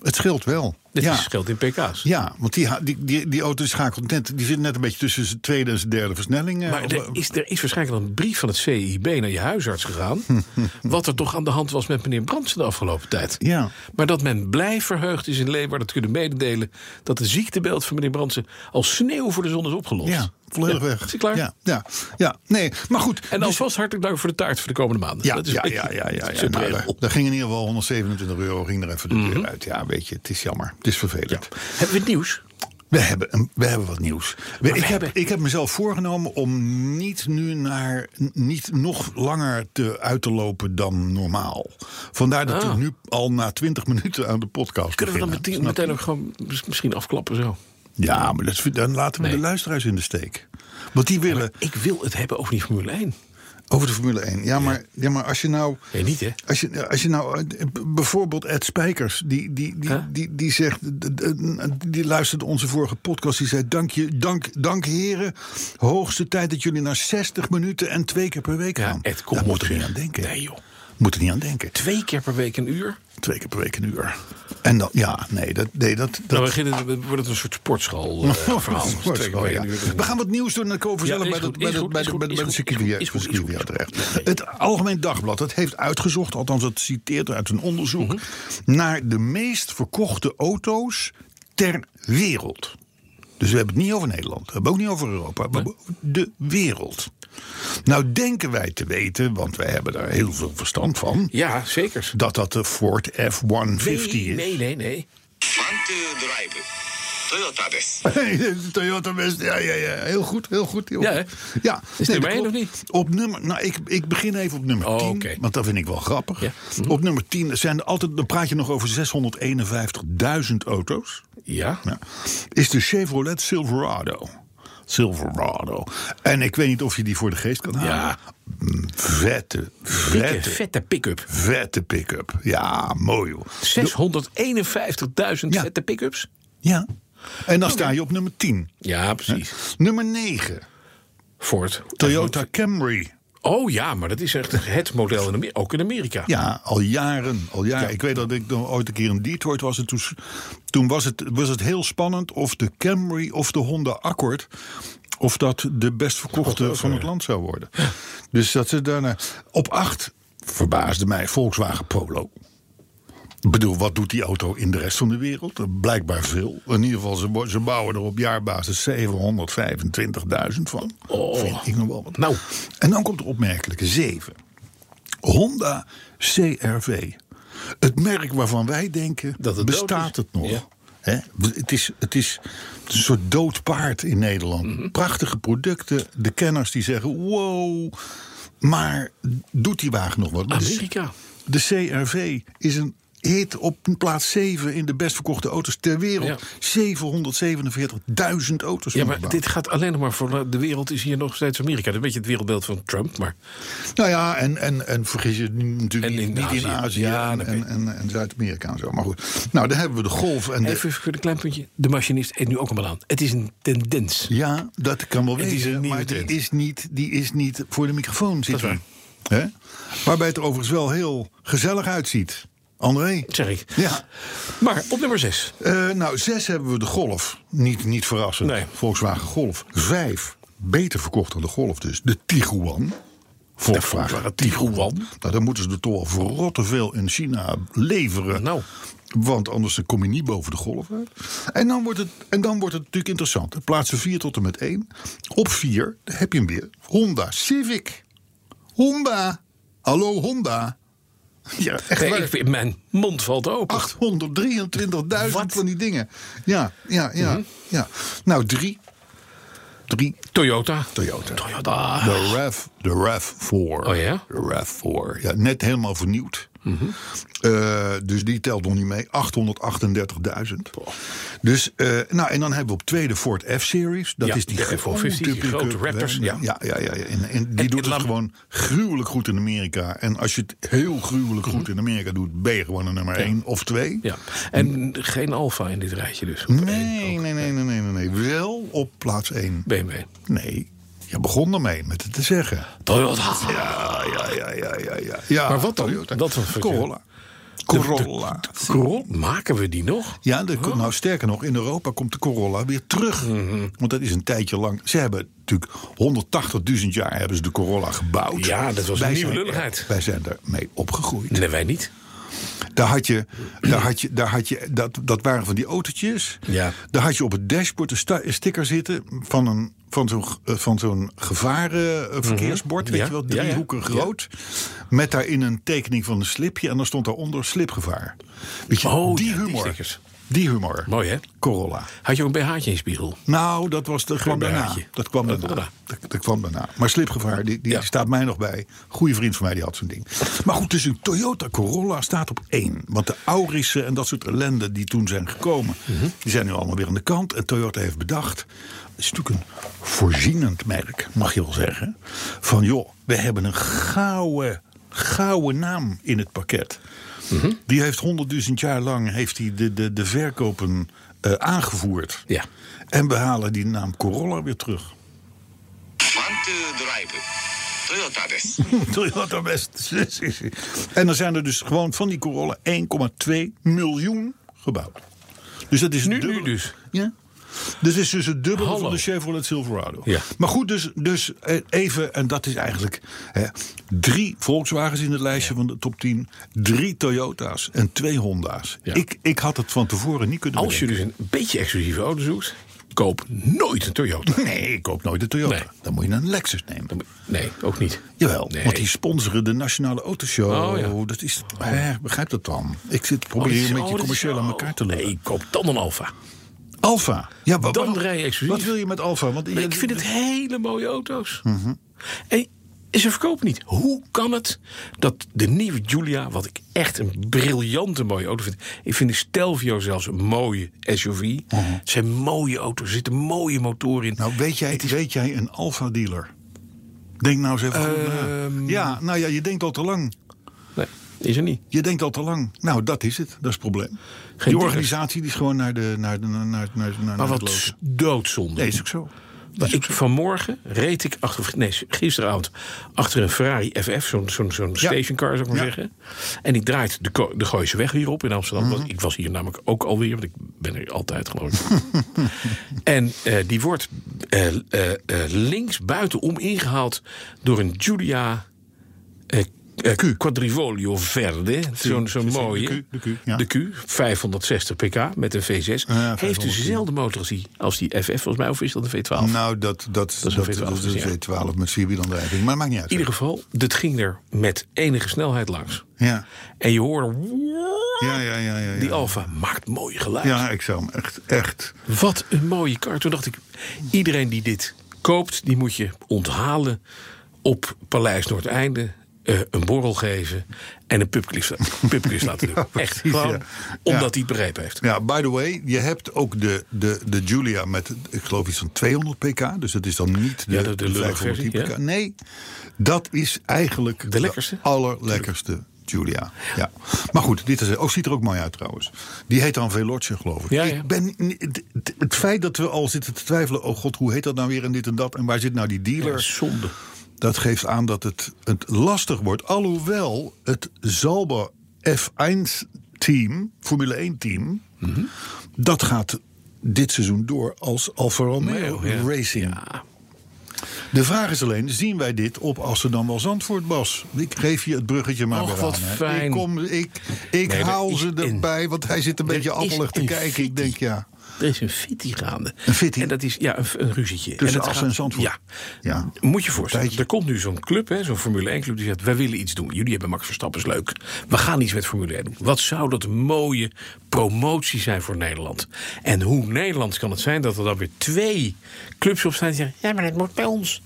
[SPEAKER 2] Het scheelt wel.
[SPEAKER 3] Dit
[SPEAKER 2] ja.
[SPEAKER 3] is scheelt in pk's.
[SPEAKER 2] Ja, want die, ha- die, die, die auto schakelt net, die zit net een beetje tussen zijn tweede en zijn derde versnelling. eh,
[SPEAKER 3] Maar
[SPEAKER 2] op-
[SPEAKER 3] er is, er is waarschijnlijk al een brief van het CIB naar je huisarts
[SPEAKER 2] [LAUGHS]
[SPEAKER 3] gegaan. wat er toch aan de hand was met meneer Brandsen de afgelopen tijd.
[SPEAKER 2] Ja.
[SPEAKER 3] Maar dat men blij verheugd is in Leeuwarden dat kunnen mededelen. dat het ziektebeeld van meneer Brandsen als sneeuw voor de zon is opgelost.
[SPEAKER 2] ja, volledig
[SPEAKER 3] Ja,
[SPEAKER 2] weg.
[SPEAKER 3] Is hij klaar?
[SPEAKER 2] Ja, ja, ja, nee, maar goed. dus-
[SPEAKER 3] En alvast hartelijk dank voor de taart voor de komende maanden.
[SPEAKER 2] ja,
[SPEAKER 3] dat is
[SPEAKER 2] ja,
[SPEAKER 3] een
[SPEAKER 2] ja,
[SPEAKER 3] beetje Mhm.
[SPEAKER 2] ja, ja,
[SPEAKER 3] de
[SPEAKER 2] ja, nou, daar,
[SPEAKER 3] regel.
[SPEAKER 2] daar ging in ieder geval 127 euro ging er even de deur uit. Ja, weet je, het is jammer. Het is vervelend.
[SPEAKER 3] Hebben we het nieuws?
[SPEAKER 2] We, hebben, een- we hebben wat nieuws. We- ik,
[SPEAKER 3] we
[SPEAKER 2] heb,
[SPEAKER 3] hebben-
[SPEAKER 2] ik heb mezelf voorgenomen om niet nu naar, n- niet nog langer te, uit te lopen dan normaal. Vandaar dat we nu al na 20 minuten aan de podcast
[SPEAKER 3] Ah. Kunnen we dan
[SPEAKER 2] beginnen.
[SPEAKER 3] meteen,
[SPEAKER 2] Snap je?
[SPEAKER 3] meteen ook gewoon mis- misschien afklappen zo?
[SPEAKER 2] Ja, maar dat, is- dan laten we
[SPEAKER 3] Nee.
[SPEAKER 2] de luisteraars in de steek. Want die willen
[SPEAKER 3] Ik wil het hebben over die Formule 1.
[SPEAKER 2] over de Formule 1. Ja, maar, ja, maar als je nou.
[SPEAKER 3] Nee, niet hè?
[SPEAKER 2] Als je, als je nou eh, b- bijvoorbeeld Ed Spijkers, die, die, die,
[SPEAKER 3] Huh?
[SPEAKER 2] die, die zegt, d- d- die luisterde onze vorige podcast, die zei: Dank, je, dank, dank heren, hoogste tijd dat jullie naar 60 minuten en twee keer per week gaan.
[SPEAKER 3] Ed, kom
[SPEAKER 2] Nou, Daar moet er
[SPEAKER 3] op,
[SPEAKER 2] niet
[SPEAKER 3] zeg.
[SPEAKER 2] aan denken.
[SPEAKER 3] Nee, joh.
[SPEAKER 2] Moet er niet aan denken.
[SPEAKER 3] Twee keer per week een uur.
[SPEAKER 2] Twee keer per week een uur. En dan, ja, nee, dat. Nee, dat, dat
[SPEAKER 3] Dan beginnen, we- wordt het een soort
[SPEAKER 2] [LAUGHS]
[SPEAKER 3] sportschool eh, [LAUGHS] verhaal.
[SPEAKER 2] Oh, dat is wel, ja. We gaan wat nieuws doen en dan komen we
[SPEAKER 3] Ja,
[SPEAKER 2] zelf
[SPEAKER 3] is
[SPEAKER 2] bij de-
[SPEAKER 3] goed,
[SPEAKER 2] bij
[SPEAKER 3] is
[SPEAKER 2] de-
[SPEAKER 3] goed,
[SPEAKER 2] bij
[SPEAKER 3] is
[SPEAKER 2] de-
[SPEAKER 3] goed,
[SPEAKER 2] bij de-
[SPEAKER 3] is
[SPEAKER 2] bij de
[SPEAKER 3] goed, is goed, is goed,
[SPEAKER 2] circuit
[SPEAKER 3] is goed.
[SPEAKER 2] terecht. Het Algemeen Dagblad dat heeft uitgezocht, althans dat citeert uit een
[SPEAKER 3] Mhm.
[SPEAKER 2] onderzoek, naar de meest verkochte auto's ter wereld. Dus we hebben het niet over Nederland, we hebben het ook niet over Europa, we hebben het over de wereld. Nou denken wij te weten, want wij hebben daar heel veel verstand van,
[SPEAKER 3] Ja, zeker.
[SPEAKER 2] dat dat de Ford F-150
[SPEAKER 3] Nee,
[SPEAKER 2] is.
[SPEAKER 3] nee, nee, nee.
[SPEAKER 4] ドライブトヨタです
[SPEAKER 2] [LAUGHS] Hey, de Toyota West, ja, ja, ja. Heel goed, heel goed. Joh.
[SPEAKER 3] Ja, hè?
[SPEAKER 2] ja.
[SPEAKER 3] Is
[SPEAKER 2] Nee,
[SPEAKER 3] nummer één
[SPEAKER 2] dat
[SPEAKER 3] of
[SPEAKER 2] klopt.
[SPEAKER 3] niet?
[SPEAKER 2] Op nummer, nou, ik, ik begin even op nummer
[SPEAKER 3] Oh,
[SPEAKER 2] 10,
[SPEAKER 3] oké.
[SPEAKER 2] want dat vind ik wel grappig.
[SPEAKER 3] Ja. mhm.
[SPEAKER 2] Op nummer 10 zijn er altijd, dan praat je nog over 651.000 auto's.
[SPEAKER 3] Ja.
[SPEAKER 2] Ja. Is de Chevrolet Silverado. Silverado. En ik weet niet of je die voor de geest kan halen.
[SPEAKER 3] Ja.
[SPEAKER 2] Mm, Vette,
[SPEAKER 3] Dikke,
[SPEAKER 2] vette,
[SPEAKER 3] vette pick-up.
[SPEAKER 2] vette pick-up. Ja, mooi hoor.
[SPEAKER 3] 651.000
[SPEAKER 2] Ja.
[SPEAKER 3] vette pick-ups.
[SPEAKER 2] Ja. En dan sta je op nummer 10.
[SPEAKER 3] Ja, precies.
[SPEAKER 2] Nummer 9,
[SPEAKER 3] Ford.
[SPEAKER 2] Toyota Camry.
[SPEAKER 3] Oh ja, maar dat is echt het model, in Amer- ook in Amerika.
[SPEAKER 2] Ja, al jaren. Al jaren. Ik weet dat ik nog ooit een keer in Detroit was. En toen toen was, het, was het heel spannend of de Camry of de Honda Accord... of dat de best verkochte van het land zou worden. Dus dat ze daarna... Op acht verbaasde mij Volkswagen Polo. Ik bedoel, wat doet die auto in de rest van de wereld? Eh, Blijkbaar veel. In ieder geval, ze, bo- ze bouwen er op jaarbasis 725.000 van. Vind ik nog wel wat.
[SPEAKER 3] Nou.
[SPEAKER 2] En dan komt de opmerkelijke 7. Honda CRV. Het merk waarvan wij denken,
[SPEAKER 3] Dat het dood
[SPEAKER 2] bestaat
[SPEAKER 3] is.
[SPEAKER 2] het nog?
[SPEAKER 3] Ja.
[SPEAKER 2] Hè? Het, is, het is een soort dood paard in Nederland.
[SPEAKER 3] Mhm.
[SPEAKER 2] Prachtige producten. De kenners die zeggen, wow. Maar doet die wagen nog wat? Dus-
[SPEAKER 3] Amerika.
[SPEAKER 2] de CRV is een hit op plaats 7 in de best verkochte auto's ter wereld. 747.000 auto's.
[SPEAKER 3] Ja,
[SPEAKER 2] worden
[SPEAKER 3] maar
[SPEAKER 2] gebouwd.
[SPEAKER 3] dit gaat alleen nog maar voor... eh, De wereld is hier nog steeds Amerika. Dat is een beetje het wereldbeeld van Trump, maar...
[SPEAKER 2] Nou ja, en, en, en vergis je natuurlijk
[SPEAKER 3] En in
[SPEAKER 2] niet niet in
[SPEAKER 3] Azië.
[SPEAKER 2] Azië
[SPEAKER 3] Ja,
[SPEAKER 2] en,
[SPEAKER 3] dat
[SPEAKER 2] en, en, en Zuid-Amerika en zo. Maar goed, nou, daar hebben we de Golf en de...
[SPEAKER 3] Even voor een klein puntje. De machinist eet nu ook allemaal aan. Het is een tendens.
[SPEAKER 2] Ja, dat kan wel
[SPEAKER 3] Het is een
[SPEAKER 2] wezen,
[SPEAKER 3] nieuwe
[SPEAKER 2] maar die
[SPEAKER 3] trend.
[SPEAKER 2] is, niet, die is niet voor de microfoon
[SPEAKER 3] is
[SPEAKER 2] zitten. Hè? Waarbij het er overigens wel heel gezellig uitziet. André?
[SPEAKER 3] Zeg ik.
[SPEAKER 2] Ja.
[SPEAKER 3] Maar op nummer 6.
[SPEAKER 2] Eh, nou, zes hebben we de Golf. Niet, niet verrassend.
[SPEAKER 3] Nee.
[SPEAKER 2] Volkswagen Golf. Vijf, beter verkocht dan de Golf dus. De Tiguan. Volkswagen Tiguan. Nou, dan moeten ze er toch al verrotte veel in China leveren.
[SPEAKER 3] Nou.
[SPEAKER 2] Want anders dan kom je niet boven de golf uit. En dan wordt het, en dan wordt het natuurlijk interessant. hè. Plaatsen 4 tot en met 1. Op 4 heb je hem weer. Honda Civic. Honda. Hallo Honda. Ja, echt
[SPEAKER 3] Nee,
[SPEAKER 2] waar.
[SPEAKER 3] ik, vind- mijn mond valt open.
[SPEAKER 2] 823.000 van die dingen. Ja, ja, ja,
[SPEAKER 3] Mhm.
[SPEAKER 2] ja. Nou, drie. Drie.
[SPEAKER 3] Toyota.
[SPEAKER 2] Toyota.
[SPEAKER 3] Toyota.
[SPEAKER 2] De RAV, de RAV4.
[SPEAKER 3] Oh ja? Mhm.
[SPEAKER 2] De RAV4. Ja, net helemaal vernieuwd. Eh, dus die telt nog niet mee. 838.000. Dus, eh, nou, en dan hebben we op tweede Ford F-Series. Dat
[SPEAKER 3] Ja,
[SPEAKER 2] is die
[SPEAKER 3] de F450, die
[SPEAKER 2] pick-up,
[SPEAKER 3] grote
[SPEAKER 2] hè.
[SPEAKER 3] Raptors, ja.
[SPEAKER 2] ja, ja, ja. ja. En, en die
[SPEAKER 3] En-
[SPEAKER 2] doet
[SPEAKER 3] en
[SPEAKER 2] het
[SPEAKER 3] laat-
[SPEAKER 2] gewoon gruwelijk goed in Amerika. En als je het heel gruwelijk goed in Amerika doet, ben je gewoon een nummer 1 of 2.
[SPEAKER 3] Mhm. Ja. En geen Alfa in dit rijtje dus.
[SPEAKER 2] Nee, nee, nee, nee, nee, nee, nee. Wel op plaats 1.
[SPEAKER 3] BMW.
[SPEAKER 2] Nee, je begon ermee met het te zeggen.
[SPEAKER 3] Toyota.
[SPEAKER 2] Ja, ja, ja, ja, ja. ja. ja
[SPEAKER 3] Maar wat dan?
[SPEAKER 2] Toyota.
[SPEAKER 3] Dat was wat je-
[SPEAKER 2] Corolla. Corolla.
[SPEAKER 3] Corolla. Maken we die nog?
[SPEAKER 2] Ja, de, nou sterker nog, in Europa komt de Corolla weer terug.
[SPEAKER 3] Mhm.
[SPEAKER 2] Want dat is een tijdje lang. Ze hebben natuurlijk 180.000 jaar hebben ze de Corolla gebouwd.
[SPEAKER 3] Ja, dat was een nieuwe
[SPEAKER 2] zijn-
[SPEAKER 3] lulligheid.
[SPEAKER 2] Wij zijn daarmee opgegroeid.
[SPEAKER 3] Nee, wij niet.
[SPEAKER 2] Daar had je, daar had je, daar had je dat, dat waren van die autootjes.
[SPEAKER 3] Ja.
[SPEAKER 2] Daar had je op het dashboard een, sta- een sticker zitten van, een, van zo'n ge- eh, van zo'n gevarenverkeersbord. Weet
[SPEAKER 3] Mhm. Ja,
[SPEAKER 2] je wel,
[SPEAKER 3] ja, ja.
[SPEAKER 2] driehoeken groot. Met daarin een tekening van een slipje. En dan stond daaronder slipgevaar. Weet je,
[SPEAKER 3] Oh,
[SPEAKER 2] die
[SPEAKER 3] ja, die
[SPEAKER 2] humor. Die,
[SPEAKER 3] stickers.
[SPEAKER 2] humor.
[SPEAKER 3] Mooi, hè?
[SPEAKER 2] Corolla.
[SPEAKER 3] Had je ook een BH'tje in spiegel?
[SPEAKER 2] Nou, dat was de, kwam daarna.
[SPEAKER 3] BH'tje.
[SPEAKER 2] Dat kwam
[SPEAKER 3] Dat
[SPEAKER 2] daarna.
[SPEAKER 3] daarna.
[SPEAKER 2] Dat, dat kwam daarna. Maar slipgevaar, die, die
[SPEAKER 3] Ja.
[SPEAKER 2] staat mij nog bij. Goeie vriend van mij, die had zo'n ding. Maar goed, dus een Toyota Corolla staat op één. Want de Aurissen en dat soort ellende die toen zijn gekomen... die zijn nu allemaal weer aan de kant. En Toyota heeft bedacht... het is natuurlijk een voorzienend merk, mag je wel zeggen... van joh, we hebben een gouden, gouden naam in het pakket. Die heeft honderdduizend jaar lang heeft die de, de, de verkopen eh, aangevoerd.
[SPEAKER 3] Ja.
[SPEAKER 2] En we halen die naam Corolla weer terug.
[SPEAKER 4] ドライブトヨタです
[SPEAKER 2] [LAUGHS] Toyota best. en er zijn er dus gewoon van die Corolla 1,2 miljoen gebouwd. Dus dat is
[SPEAKER 3] Nu-
[SPEAKER 2] het dubbele-
[SPEAKER 3] nu dus.
[SPEAKER 2] Ja. Dus het is dus het dubbele
[SPEAKER 3] Hallo.
[SPEAKER 2] van de Chevrolet Silverado.
[SPEAKER 3] Ja.
[SPEAKER 2] Maar goed, dus, dus eh, even, en dat is eigenlijk hè, drie Volkswagens in het lijstje van de top 10, drie Toyota's en twee Honda's.
[SPEAKER 3] Ja.
[SPEAKER 2] Ik, ik had het van tevoren niet kunnen
[SPEAKER 3] Als je
[SPEAKER 2] bedenken.
[SPEAKER 3] dus een beetje exclusieve auto zoekt, koop nooit een Toyota.
[SPEAKER 2] Nee, ik koop nooit een Toyota.
[SPEAKER 3] Nee.
[SPEAKER 2] Dan moet je een Lexus nemen.
[SPEAKER 3] Nee, ook niet.
[SPEAKER 2] Jawel,
[SPEAKER 3] Nee.
[SPEAKER 2] want die sponsoren de Nationale Autoshow.
[SPEAKER 3] Oh, ja.
[SPEAKER 2] Dat is, hè, begrijp dat dan. Ik zit probeer
[SPEAKER 3] Oh,
[SPEAKER 2] een
[SPEAKER 3] dat is-
[SPEAKER 2] beetje commercieel
[SPEAKER 3] oh,
[SPEAKER 2] aan elkaar te leggen.
[SPEAKER 3] Nee, koop dan een Alfa.
[SPEAKER 2] Alfa. Ja, wa-
[SPEAKER 3] Dan
[SPEAKER 2] wa-
[SPEAKER 3] rij je exclusief.
[SPEAKER 2] Wat wil je met Alfa? Want
[SPEAKER 3] Nee, ik vind het hele mooie auto's. En ze verkopen niet. Hoe kan het dat de nieuwe Giulia, wat ik echt een briljante mooie auto vind. Ik vind de Stelvio zelfs een mooie SUV. Het zijn mooie auto's, er zitten mooie motoren in.
[SPEAKER 2] Nou, weet jij, weet jij een Alfa
[SPEAKER 3] Ehm.
[SPEAKER 2] dealer? Denk nou eens even goed na. Ja, nou ja, je denkt al te lang.
[SPEAKER 3] Nee. Is er niet.
[SPEAKER 2] Je denkt al te lang. Nou, dat is het. Dat is het probleem. die
[SPEAKER 3] dikkers.
[SPEAKER 2] organisatie die is gewoon naar de naar, de- naar, naar, naar, naar
[SPEAKER 3] Maar
[SPEAKER 2] het
[SPEAKER 3] wat
[SPEAKER 2] lozen.
[SPEAKER 3] s- doodzonde.
[SPEAKER 2] Nee, is ook zo.
[SPEAKER 3] Maar ik, vanmorgen reed ik achter, nee, gisteravond achter een Ferrari FF, zo'n zo'n zo'n stationcar zou ik maar
[SPEAKER 2] Ja.
[SPEAKER 3] zeggen. En ik draait de, Ko- de Gooise weg weer op in Amsterdam. want ik was hier namelijk ook alweer, want ik ben er altijd geloof ik.
[SPEAKER 2] [LAUGHS]
[SPEAKER 3] en eh, die wordt eh, eh, eh, links buitenom ingehaald door een Giulia eh, eh, Quadrivolio Verde. Zo'n zo'n
[SPEAKER 2] de
[SPEAKER 3] mooie.
[SPEAKER 2] Q, de Q, ja.
[SPEAKER 3] De Q, 560 pk met een V6.
[SPEAKER 2] Ja,
[SPEAKER 3] Heeft dus
[SPEAKER 2] 500.
[SPEAKER 3] dezelfde motor als die, als die FF, volgens mij, of is dat een V12?
[SPEAKER 2] Nou, dat, dat, dat,
[SPEAKER 3] is
[SPEAKER 2] dat,
[SPEAKER 3] een V12,
[SPEAKER 2] dat is
[SPEAKER 3] ja.
[SPEAKER 2] een V12 met vierwielaandrijving. Maar dat maakt niet uit.
[SPEAKER 3] In ieder geval, dit ging er met enige snelheid langs.
[SPEAKER 2] Ja.
[SPEAKER 3] En je hoorde...
[SPEAKER 2] Ja, ja, ja, ja, ja.
[SPEAKER 3] Die Alfa maakt mooi geluid.
[SPEAKER 2] Ja, ik zou hem echt, echt.
[SPEAKER 3] Wat een mooie kar. Toen dacht ik, iedereen die dit koopt... die moet je onthalen op Paleis Noordeinde... eh, een borrel geven en een pubquiz
[SPEAKER 2] [LAUGHS]
[SPEAKER 3] pubquiz laten doen. Echt,
[SPEAKER 2] precies,
[SPEAKER 3] gewoon
[SPEAKER 2] ja.
[SPEAKER 3] omdat
[SPEAKER 2] Ja.
[SPEAKER 3] hij het begrepen heeft.
[SPEAKER 2] Ja, by the way, je hebt ook de, de, de Julia met, ik geloof iets van 200 pk. Dus dat is dan niet de,
[SPEAKER 3] Ja, de- de lullige
[SPEAKER 2] 510 pk.
[SPEAKER 3] versie, ja.
[SPEAKER 2] Nee, dat is eigenlijk
[SPEAKER 3] De lekkerste?
[SPEAKER 2] allerlekkerste Julia. Ja. Maar goed, dit is, oh, ziet er ook mooi uit trouwens. Die heet dan Veloce, geloof ik.
[SPEAKER 3] Ja, ja.
[SPEAKER 2] ik ben, het, het- het feit dat we al zitten te twijfelen, oh god, hoe heet dat nou weer en dit en dat. En waar zit nou die dealer?
[SPEAKER 3] Ja, zonde.
[SPEAKER 2] Dat geeft aan dat het, het lastig wordt. Alhoewel het Zalba F1-team, Formule 1-team,
[SPEAKER 3] Mhm.
[SPEAKER 2] dat gaat dit seizoen door als Alfa Romeo
[SPEAKER 3] Romeo, Oh, ja.
[SPEAKER 2] Racing. De vraag is alleen, zien wij dit op Amsterdam wel Zandvoort, Bas? Ik geef je het bruggetje maar
[SPEAKER 3] Och,
[SPEAKER 2] weer
[SPEAKER 3] wat
[SPEAKER 2] aan. hè.
[SPEAKER 3] fijn.
[SPEAKER 2] Ik, kom, ik, ik
[SPEAKER 3] Nee, er
[SPEAKER 2] haal
[SPEAKER 3] is
[SPEAKER 2] ze
[SPEAKER 3] een-
[SPEAKER 2] erbij, want hij zit een beetje
[SPEAKER 3] is
[SPEAKER 2] appelig te
[SPEAKER 3] een
[SPEAKER 2] kijken.
[SPEAKER 3] fitty.
[SPEAKER 2] Ik denk, ja.
[SPEAKER 3] Er is een fitty gaande.
[SPEAKER 2] Een fitty?
[SPEAKER 3] En dat is ja, een, een ruzietje.
[SPEAKER 2] Tussen
[SPEAKER 3] dat
[SPEAKER 2] Assen en Zandvoort?
[SPEAKER 3] Ja.
[SPEAKER 2] Ja.
[SPEAKER 3] Moet je voorstellen,
[SPEAKER 2] Tijdje.
[SPEAKER 3] er komt nu zo'n club, hè, zo'n Formule 1 club... die zegt, wij willen iets doen. Jullie hebben Max Verstappen, is leuk. We gaan iets met Formule 1 doen. Wat zou dat een mooie promotie zijn voor Nederland? En hoe Nederlands kan het zijn dat er dan weer twee clubs op staan... die zeggen, ja, maar het moet bij ons.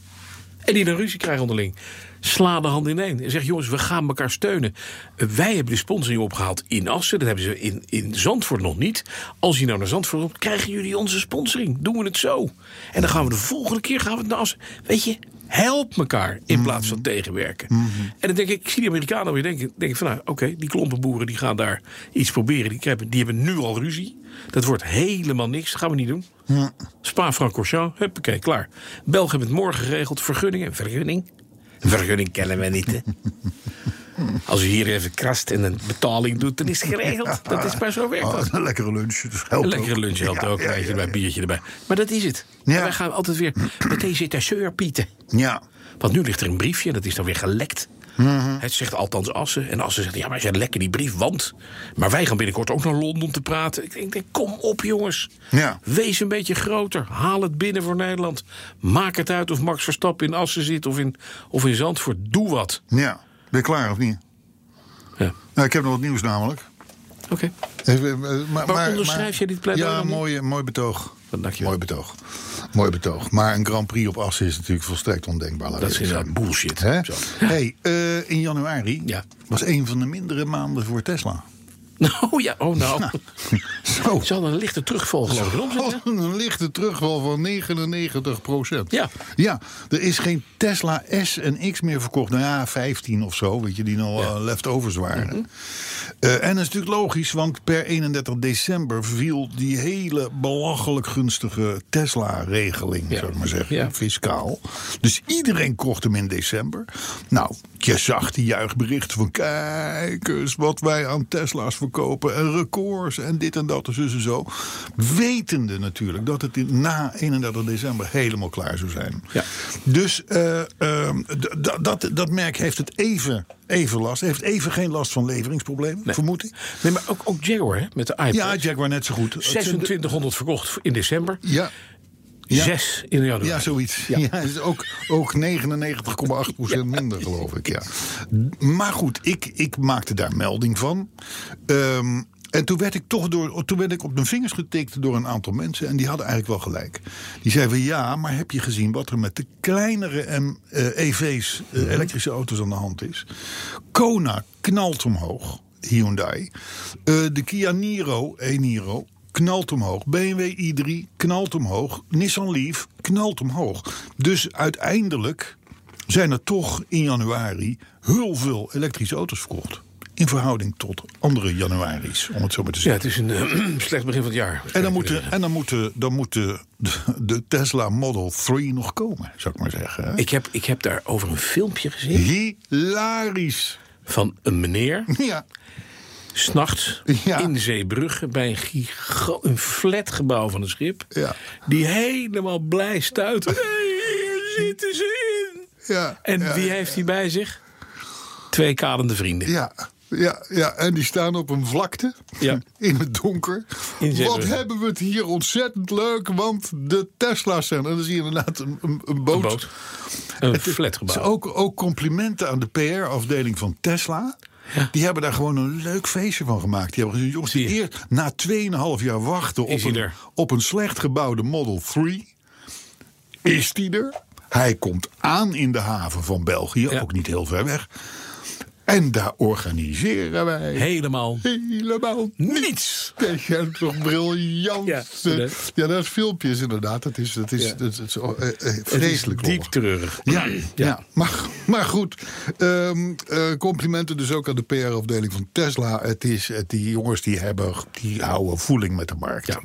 [SPEAKER 3] En die dan ruzie krijgen onderling. Sla de hand ineen. En zeg, jongens, we gaan elkaar steunen. Eh, Wij hebben de sponsoring opgehaald in Assen. Dat hebben ze in, in Zandvoort nog niet. Als je nou naar Zandvoort komt, krijgen jullie onze sponsoring. Doen we het zo. En dan gaan we de volgende keer gaan we het naar Assen. Weet je, help elkaar in plaats van tegenwerken. En dan denk ik, ik zie die Amerikanen weer denken. denk ik van, nou, oké, die klompenboeren die gaan daar iets proberen. Die, hebben- die hebben nu al ruzie. Dat wordt helemaal niks. Dat gaan we niet doen. Spa-Francorchamps, huppakee, klaar. België hebben het morgen geregeld. Vergunningen, vergunning. Vergunning kennen we
[SPEAKER 2] [LAUGHS]
[SPEAKER 3] niet, hè. Als u hier even krast en een betaling doet, dan is het geregeld. Dat is maar zo werkt
[SPEAKER 2] Oh,
[SPEAKER 3] dat.
[SPEAKER 2] een lekkere lunch. Dus helpt
[SPEAKER 3] Een
[SPEAKER 2] ook.
[SPEAKER 3] lekkere lunch helpt
[SPEAKER 2] Ja,
[SPEAKER 3] ook,
[SPEAKER 2] ja,
[SPEAKER 3] weet je,
[SPEAKER 2] ja,
[SPEAKER 3] bij een
[SPEAKER 2] ja.
[SPEAKER 3] biertje erbij. Maar dat is het.
[SPEAKER 2] Ja.
[SPEAKER 3] En wij gaan altijd weer meteen zitten zeurpieten.
[SPEAKER 2] Ja.
[SPEAKER 3] Want nu ligt er een briefje, dat is dan weer gelekt.
[SPEAKER 2] Mhm.
[SPEAKER 3] Het zegt althans Assen. En Assen zegt, ja, maar zij lekken die brief, want... Maar wij gaan binnenkort ook naar Londen te praten. Ik denk, kom op, jongens.
[SPEAKER 2] Ja.
[SPEAKER 3] Wees een beetje groter. Haal het binnen voor Nederland. Maak het uit of Max Verstappen in Assen zit of in, of in Zandvoort. Doe wat.
[SPEAKER 2] Ja, ben je klaar of niet?
[SPEAKER 3] Ja.
[SPEAKER 2] Nou, ik heb nog wat nieuws namelijk.
[SPEAKER 3] Oké.
[SPEAKER 2] Even, eh, maar, maar,
[SPEAKER 3] onderschrijf
[SPEAKER 2] maar-
[SPEAKER 3] jij dit pleidooi
[SPEAKER 2] Ja,
[SPEAKER 3] dan nu?
[SPEAKER 2] mooi, eh, mooi betoog.
[SPEAKER 3] Dan dank je wel.
[SPEAKER 2] Mooi betoog. Mooi betoog. Maar een Grand Prix op Assen is natuurlijk volstrekt ondenkbaar. laat
[SPEAKER 3] Dat
[SPEAKER 2] ik
[SPEAKER 3] is
[SPEAKER 2] zeggen.
[SPEAKER 3] inderdaad bullshit.
[SPEAKER 2] Hè?
[SPEAKER 3] Zo.
[SPEAKER 2] Hey, eh, in januari
[SPEAKER 3] Ja.
[SPEAKER 2] was een van de mindere maanden voor Tesla.
[SPEAKER 3] [LAUGHS] Nou ja, oh nou.
[SPEAKER 2] Zo.
[SPEAKER 3] Zal een lichte terugval geloof ik in omzet, hè?
[SPEAKER 2] Wat [LAUGHS] Een lichte terugval van 99 procent.
[SPEAKER 3] Ja.
[SPEAKER 2] ja, er is geen Tesla S en X meer verkocht. Nou ja, 15 of zo, weet je, die nog
[SPEAKER 3] Ja. Mhm.
[SPEAKER 2] eh, leftovers waren. Eh, en dat is natuurlijk logisch, want per 31 december viel die hele belachelijk gunstige Tesla-regeling,
[SPEAKER 3] Ja.
[SPEAKER 2] zou ik maar zeggen,
[SPEAKER 3] Ja.
[SPEAKER 2] fiscaal. Dus iedereen kocht hem in december. Nou, je zag die juichberichten van kijk eens wat wij aan Tesla's verkopen en records en dit en dat en zus en zo. Wetende natuurlijk dat het in- na 31 december helemaal klaar zou zijn.
[SPEAKER 3] Ja.
[SPEAKER 2] Dus eh, ehm, d- d- dat, dat merk heeft het even, even last. Heeft even geen last van leveringsproblemen, vermoed ik.
[SPEAKER 3] Nee, maar ook, ook Jaguar, hè? Met de iPad.
[SPEAKER 2] Ja, Jaguar net zo goed. Het zijn de-
[SPEAKER 3] 2600 verkocht in december.
[SPEAKER 2] Ja. Ja.
[SPEAKER 3] Zes in januari.
[SPEAKER 2] Ja, zoiets. Ja. is ook, ook 99,8% minder, geloof ik. Ja. Maar goed, ik, ik maakte daar melding van. Ehm, en toen werd ik toch door, toen werd ik op mijn vingers getikt door een aantal mensen. En die hadden eigenlijk wel gelijk. Die zeiden van ja, maar heb je gezien wat er met de kleinere en, eh, EV's, eh, elektrische auto's aan de hand is? Kona knalt omhoog, Hyundai. Eh, de Kia Niro, e-Niro, knalt omhoog. BMW i3 knalt omhoog. Nissan Leaf knalt omhoog. Dus uiteindelijk zijn er toch in januari heel veel elektrische auto's verkocht. in verhouding tot andere januari's, om het zo maar te
[SPEAKER 3] Ja,
[SPEAKER 2] zeggen.
[SPEAKER 3] het is een eh, [CLEARS THROAT] slecht begin van het jaar.
[SPEAKER 2] en dan moet, de, en dan moet, de, dan moet de, de Tesla Model 3 nog komen, zou ik maar zeggen. hè.
[SPEAKER 3] Ik heb, ik heb daar over een filmpje gezien
[SPEAKER 2] Hilarisch.
[SPEAKER 3] van een meneer.
[SPEAKER 2] Ja,
[SPEAKER 3] S'nachts
[SPEAKER 2] Ja.
[SPEAKER 3] in Zeebrugge bij een, giga- een flatgebouw van een schip.
[SPEAKER 2] Ja.
[SPEAKER 3] Die helemaal blij stuit.
[SPEAKER 2] [LAUGHS]
[SPEAKER 3] Hey, hier zitten ze in.
[SPEAKER 2] ja.
[SPEAKER 3] En
[SPEAKER 2] ja,
[SPEAKER 3] wie heeft hij bij zich? Twee kadende vrienden.
[SPEAKER 2] Ja. Ja, ja, en die staan op een vlakte
[SPEAKER 3] Ja.
[SPEAKER 2] [LAUGHS] in het donker.
[SPEAKER 3] In
[SPEAKER 2] Wat
[SPEAKER 3] Zeebrugge.
[SPEAKER 2] hebben we het hier ontzettend leuk, want de Tesla's zijn... En dan zie je inderdaad een, een, een boot.
[SPEAKER 3] Een boot. Een
[SPEAKER 2] Dus
[SPEAKER 3] flatgebouw.
[SPEAKER 2] ook, ook complimenten aan de PR-afdeling van Tesla. Die hebben daar gewoon een leuk feestje van gemaakt. Die hebben gezien, jongens, die
[SPEAKER 3] Zie je.
[SPEAKER 2] eerst na 2,5 jaar wachten op
[SPEAKER 3] Is hij
[SPEAKER 2] een,
[SPEAKER 3] er?
[SPEAKER 2] op een slecht gebouwde Model 3. Is die er? Hij komt aan in de haven van België,
[SPEAKER 3] Ja.
[SPEAKER 2] ook niet heel ver weg. En daar organiseren wij
[SPEAKER 3] Helemaal
[SPEAKER 2] helemaal
[SPEAKER 3] niets.
[SPEAKER 2] dat is toch briljant.
[SPEAKER 3] Ja,
[SPEAKER 2] Ja,
[SPEAKER 3] inderdaad.
[SPEAKER 2] ja dat is filmpjes inderdaad. Dat is, dat is, dat is eh, eh, vreselijk.
[SPEAKER 3] diep
[SPEAKER 2] lollig.
[SPEAKER 3] treurig.
[SPEAKER 2] Ja, ja. Maar, maar goed. Ehm, eh, complimenten dus ook aan de PR-afdeling van Tesla. Het is, het, die jongens die hebben, die houden voeling met de markt.
[SPEAKER 3] Ja.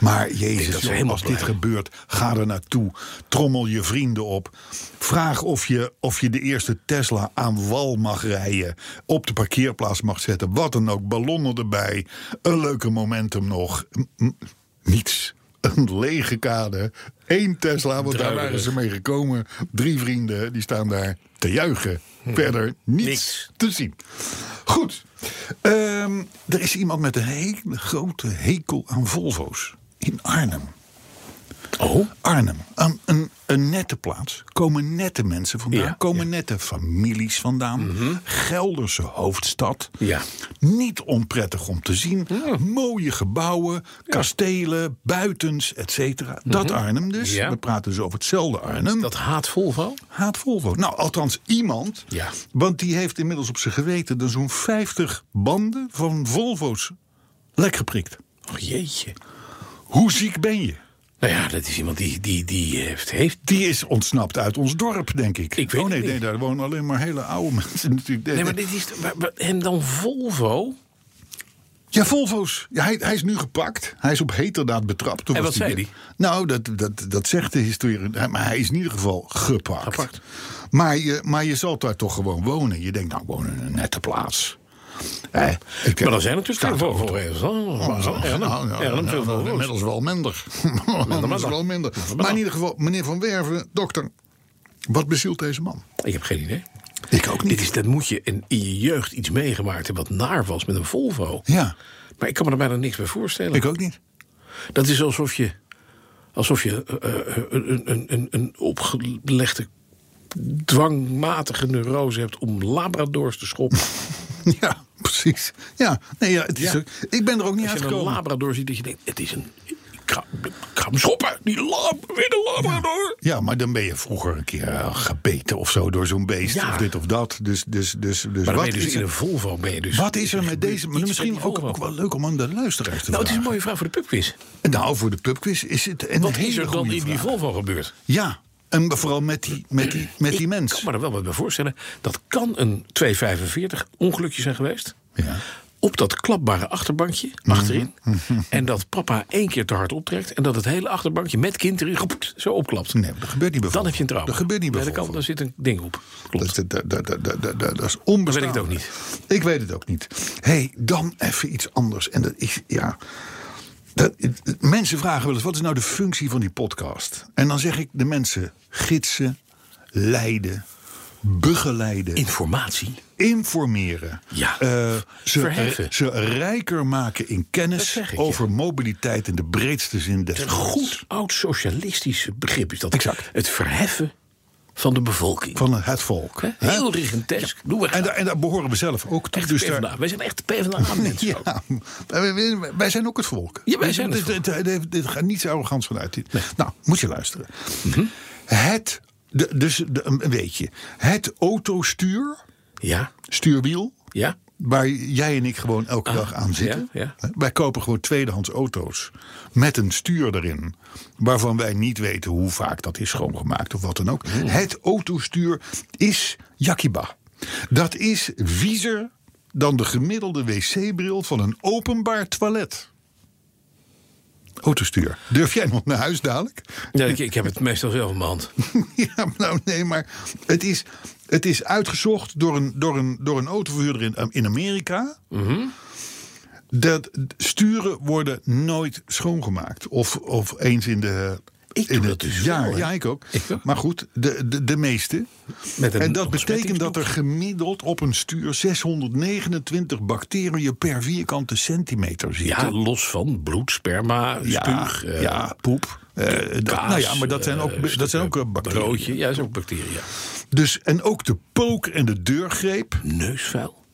[SPEAKER 2] Maar
[SPEAKER 3] dat ze
[SPEAKER 2] jezus, joh,
[SPEAKER 3] helemaal
[SPEAKER 2] als dit
[SPEAKER 3] blij zijn.
[SPEAKER 2] gebeurt, ga er naartoe. Trommel je vrienden op. Vraag of je, of je de eerste Tesla aan wal mag rijden. Op de parkeerplaats mag zetten. Wat dan ook. Ballonnen erbij. Een leuke momentum nog. M- m- niets. Een lege kade. Eén Tesla, want daar
[SPEAKER 3] Druilerig.
[SPEAKER 2] waren ze mee gekomen. Drie vrienden, die staan daar te juichen. Verder niets
[SPEAKER 3] Hm. Niks.
[SPEAKER 2] te zien. Goed. Ehm, er is iemand met een hele grote hekel aan Volvo's. In Arnhem.
[SPEAKER 3] Oh,
[SPEAKER 2] Arnhem, een, een, een nette plaats. Komen nette mensen vandaan.
[SPEAKER 3] Ja, Mhm.
[SPEAKER 2] komen nette families vandaan. Gelderse hoofdstad.
[SPEAKER 3] Ja.
[SPEAKER 2] Niet onprettig om te zien. Mooie gebouwen, kastelen, buitens, et cetera. Dat Arnhem dus.
[SPEAKER 3] Mhm. Ja.
[SPEAKER 2] We praten dus over hetzelfde Arnhem.
[SPEAKER 3] dat haat Volvo?
[SPEAKER 2] Haat Volvo. Nou, althans iemand.
[SPEAKER 3] Ja.
[SPEAKER 2] Want die heeft inmiddels op zijn geweten... er zo'n 50 banden van Volvo's lek geprikt.
[SPEAKER 3] Oh jeetje.
[SPEAKER 2] Hoe ziek ben je?
[SPEAKER 3] Nou ja, dat is iemand die, die, die heeft, heeft
[SPEAKER 2] Die is ontsnapt uit ons dorp, denk ik.
[SPEAKER 3] Ik weet
[SPEAKER 2] oh nee,
[SPEAKER 3] het niet.
[SPEAKER 2] nee, daar wonen alleen maar hele oude [LAUGHS] mensen natuurlijk. Nee,
[SPEAKER 3] Nee, maar
[SPEAKER 2] nee.
[SPEAKER 3] dit is. maar- maar- En dan Volvo?
[SPEAKER 2] Ja, Volvo's. Ja, hij, hij is nu gepakt. Hij is op heterdaad betrapt. Toen
[SPEAKER 3] En
[SPEAKER 2] was
[SPEAKER 3] wat zei
[SPEAKER 2] Nou, dat, dat, dat zegt de historie. Hij- Maar hij is in ieder geval gepakt.
[SPEAKER 3] Gepakt.
[SPEAKER 2] Maar, je, maar je zal daar toch gewoon wonen. Je denkt, nou, ik woon in een nette plaats. Eh, ik heb-
[SPEAKER 3] Maar dan zijn er natuurlijk veel
[SPEAKER 2] Staat-
[SPEAKER 3] Volvo-regels.
[SPEAKER 2] Oh, nou, nou, nou, nou, nou, Inmiddels wel
[SPEAKER 3] [LAUGHS]
[SPEAKER 2] minder. Inmiddels wel minder. Maar in ieder geval, meneer Van Werven, dokter, wat bezielt deze man?
[SPEAKER 3] Ik heb geen idee.
[SPEAKER 2] Ik ook
[SPEAKER 3] Dit is, dat moet je in, in je jeugd iets meegemaakt hebben wat naar was met een Volvo.
[SPEAKER 2] Ja,
[SPEAKER 3] Maar ik kan me er bijna niks bij voorstellen.
[SPEAKER 2] ik ook niet.
[SPEAKER 3] Dat is alsof je, alsof je eh, eh, een, een, een, een opgelegde dwangmatige neurose hebt om labradors te schoppen.
[SPEAKER 2] [LAUGHS] Ja, precies. Ja, nee, ja, het is
[SPEAKER 3] Ja.
[SPEAKER 2] Ook, ik ben er ook niet
[SPEAKER 3] Als je een
[SPEAKER 2] uitgekomen.
[SPEAKER 3] labrador ziet, dat je denkt, het is een... Ik ga, ik ga hem schoppen, die lab, weer een labrador.
[SPEAKER 2] Ja, maar dan ben je vroeger een keer eh, gebeten of zo door zo'n beest.
[SPEAKER 3] Ja.
[SPEAKER 2] Of dit of dat. Dus, dus, dus, dus,
[SPEAKER 3] Maar
[SPEAKER 2] wat,
[SPEAKER 3] dan ben je dus
[SPEAKER 2] is
[SPEAKER 3] in een
[SPEAKER 2] er,
[SPEAKER 3] Volvo ben je dus...
[SPEAKER 2] wat is er met
[SPEAKER 3] gebeurt
[SPEAKER 2] deze... Maar
[SPEAKER 3] iets
[SPEAKER 2] misschien
[SPEAKER 3] met die
[SPEAKER 2] ook,
[SPEAKER 3] Volvo.
[SPEAKER 2] ook wel leuk om aan de luisteraars te
[SPEAKER 3] Nou, het is
[SPEAKER 2] vragen.
[SPEAKER 3] een mooie vraag voor de pubquiz.
[SPEAKER 2] Nou, voor de pubquiz is het een
[SPEAKER 3] Wat
[SPEAKER 2] hele
[SPEAKER 3] is er dan
[SPEAKER 2] goede
[SPEAKER 3] in die
[SPEAKER 2] vraag.
[SPEAKER 3] Volvo gebeurd?
[SPEAKER 2] Ja, en vooral met die, met die, met die
[SPEAKER 3] Ik kan
[SPEAKER 2] mens.
[SPEAKER 3] me er wel wat bij voorstellen. Dat kan een 245 ongelukje zijn geweest.
[SPEAKER 2] Ja. Mhm.
[SPEAKER 3] Op dat klapbare achterbankje achterin. En dat papa één keer te hard optrekt. En dat het hele achterbankje met kind erin goept, zo opklapt.
[SPEAKER 2] Nee, dat gebeurt niet bij
[SPEAKER 3] Dan heb je een
[SPEAKER 2] trouw.
[SPEAKER 3] trauma.
[SPEAKER 2] Dat gebeurt niet bij
[SPEAKER 3] Bij de kant,
[SPEAKER 2] Volvo.
[SPEAKER 3] daar zit een ding op. Klopt.
[SPEAKER 2] Dat, dat, dat, dat, dat, dat, dat- dat is
[SPEAKER 3] weet ik
[SPEAKER 2] onbestaanbaar.
[SPEAKER 3] het ook niet.
[SPEAKER 2] Ik weet het ook niet. Hé, hey, dan even iets anders. En dat is, ja... Dat, mensen vragen wel eens, wat is nou de functie van die podcast? En dan zeg ik de mensen gidsen, leiden, begeleiden,
[SPEAKER 3] Informatie.
[SPEAKER 2] informeren.
[SPEAKER 3] Ja,
[SPEAKER 2] eh, ze,
[SPEAKER 3] verheffen.
[SPEAKER 2] ze rijker maken in
[SPEAKER 3] Dat
[SPEAKER 2] kennis
[SPEAKER 3] zeg ik, ja.
[SPEAKER 2] over mobiliteit in de breedste zin des
[SPEAKER 3] Een
[SPEAKER 2] woords.
[SPEAKER 3] goed oud-socialistisch begrip is dat.
[SPEAKER 2] Exact.
[SPEAKER 3] Het verheffen van de bevolking.
[SPEAKER 2] van het volk.
[SPEAKER 3] Hè?
[SPEAKER 2] Hè?
[SPEAKER 3] Heel regentesk. Doen we
[SPEAKER 2] En, daar- en daar behoren we zelf ook toe.
[SPEAKER 3] echt
[SPEAKER 2] dus daar-
[SPEAKER 3] PvdA. Wij zijn echt [LAUGHS] PvdA-mensen. Ah, ook.
[SPEAKER 2] Ja, wij- wij- wij zijn ook het volk.
[SPEAKER 3] Ja, wij zijn
[SPEAKER 2] dit,
[SPEAKER 3] het volk.
[SPEAKER 2] Dit, dit- dit gaat niet zo arrogant vanuit. Dit. Nou, moet je luisteren.
[SPEAKER 3] Mhm.
[SPEAKER 2] Het, de, dus de, een weetje. Het autostuur,
[SPEAKER 3] Ja,
[SPEAKER 2] stuurwiel,
[SPEAKER 3] ja.
[SPEAKER 2] waar jij en ik gewoon elke dag aan zitten.
[SPEAKER 3] Ah, ja,
[SPEAKER 2] Wij kopen gewoon tweedehands auto's met een stuur erin. Waarvan wij niet weten hoe vaak dat is schoongemaakt of wat dan ook. Het autostuur is Yakiba. Dat is viezer dan de gemiddelde wc-bril van een openbaar toilet. Autostuur. Durf jij nog naar huis dadelijk?
[SPEAKER 3] Ja, ik, ik heb het meestal zelf in mijn hand.
[SPEAKER 2] [LAUGHS] Ja, maar nou nee, maar het is, het is uitgezocht door een, door een, door een autoverhuurder in, in Amerika.
[SPEAKER 3] Mhm.
[SPEAKER 2] Dat sturen worden nooit schoongemaakt. Of, of eens in de.
[SPEAKER 3] Ik
[SPEAKER 2] in
[SPEAKER 3] doe
[SPEAKER 2] het
[SPEAKER 3] dat dus
[SPEAKER 2] jaar.
[SPEAKER 3] wel, hè?
[SPEAKER 2] ja, ik ook.
[SPEAKER 3] Ik ook.
[SPEAKER 2] Maar goed, de, de, de meeste.
[SPEAKER 3] Met een
[SPEAKER 2] en dat betekent
[SPEAKER 3] ontsmettingsdoek.
[SPEAKER 2] dat er gemiddeld op een stuur 629 bacteriën per vierkante centimeter zitten. Dus
[SPEAKER 3] Ja, los van bloed, sperma, spuug, eh,
[SPEAKER 2] ja, poep. eh, dat-
[SPEAKER 3] kaas,
[SPEAKER 2] nou ja, maar dat zijn ook,
[SPEAKER 3] eh,
[SPEAKER 2] dat zijn ook eh, bacteriën.
[SPEAKER 3] Broodje, ja, dat is ook bacteriën. ja.
[SPEAKER 2] Dus, en ook de pook en de deurgreep.
[SPEAKER 3] Neusvuil,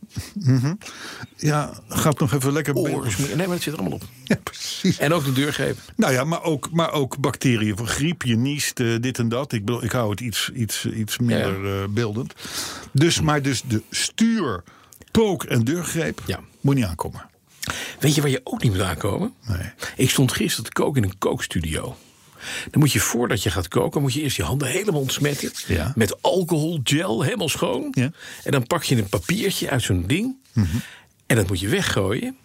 [SPEAKER 2] Ja, gaat nog even lekker
[SPEAKER 3] oorsmeer. Nee, maar dat zit er allemaal op.
[SPEAKER 2] [LAUGHS] Ja, precies.
[SPEAKER 3] En ook de deurgreep.
[SPEAKER 2] Nou ja, maar ook, maar ook bacteriën van griep, je niest, eh, dit en dat. Ik, bedoel, ik hou het iets, iets, iets minder eh, beeldend. Dus, maar dus de stuur, pook en deurgreep
[SPEAKER 3] Ja.
[SPEAKER 2] moet niet aankomen.
[SPEAKER 3] Weet je waar je ook niet moet aankomen?
[SPEAKER 2] Nee.
[SPEAKER 3] Ik stond gisteren te koken in een kookstudio. Dan moet je voordat je gaat koken, moet je eerst je handen helemaal ontsmetten.
[SPEAKER 2] Ja.
[SPEAKER 3] Met alcohol, gel, helemaal schoon.
[SPEAKER 2] Ja. Mhm.
[SPEAKER 3] En dan pak je een papiertje uit zo'n ding. En dat moet je weggooien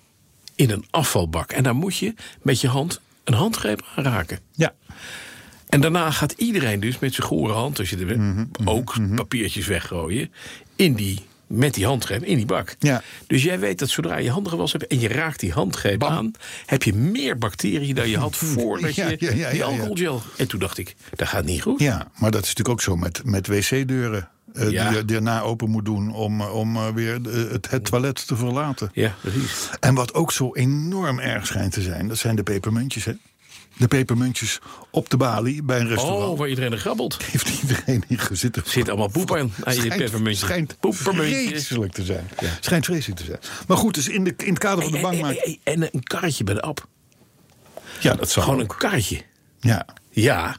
[SPEAKER 3] in een afvalbak. En daar moet je met je hand een handgreep aan raken.
[SPEAKER 2] Ja,
[SPEAKER 3] En daarna gaat iedereen dus met zijn gore hand, als je er bent,
[SPEAKER 2] Mhm,
[SPEAKER 3] ook papiertjes weggooien. In die, met die handgreep in die bak.
[SPEAKER 2] Ja.
[SPEAKER 3] Dus jij weet dat zodra je handen gewassen hebt en je raakt die handgreep aan, heb je meer bacteriën dan je had
[SPEAKER 2] [LAUGHS]
[SPEAKER 3] voordat
[SPEAKER 2] Ja,
[SPEAKER 3] je
[SPEAKER 2] ja, ja,
[SPEAKER 3] die
[SPEAKER 2] ja, ja.
[SPEAKER 3] alcoholgel. En toen dacht ik, dat gaat niet goed.
[SPEAKER 2] ja, maar dat is natuurlijk ook zo met, met wc-deuren. eh,
[SPEAKER 3] Ja.
[SPEAKER 2] Die je daarna open moet doen om, eh, om eh, weer eh, het, het toilet te verlaten.
[SPEAKER 3] Ja, precies.
[SPEAKER 2] En wat ook zo enorm erg schijnt te zijn, dat zijn de pepermuntjes, hè? De pepermuntjes op de balie bij een restaurant.
[SPEAKER 3] Oh, waar iedereen er grabbelt.
[SPEAKER 2] Heeft iedereen in gezitten?
[SPEAKER 3] Er zit allemaal poep aan, aan je peppermuntje.
[SPEAKER 2] Schijnt
[SPEAKER 3] Poepermuntjes.
[SPEAKER 2] vreselijk te zijn. Schijnt vreselijk te zijn. Maar goed, dus in, de, in het kader van de
[SPEAKER 3] Hey, hey,
[SPEAKER 2] bankmarkt.
[SPEAKER 3] hey, hey, En een karretje bij de app.
[SPEAKER 2] Ja, dat zal
[SPEAKER 3] Gewoon
[SPEAKER 2] ook. Mhm.
[SPEAKER 3] een karretje.
[SPEAKER 2] Ja.
[SPEAKER 3] Ja,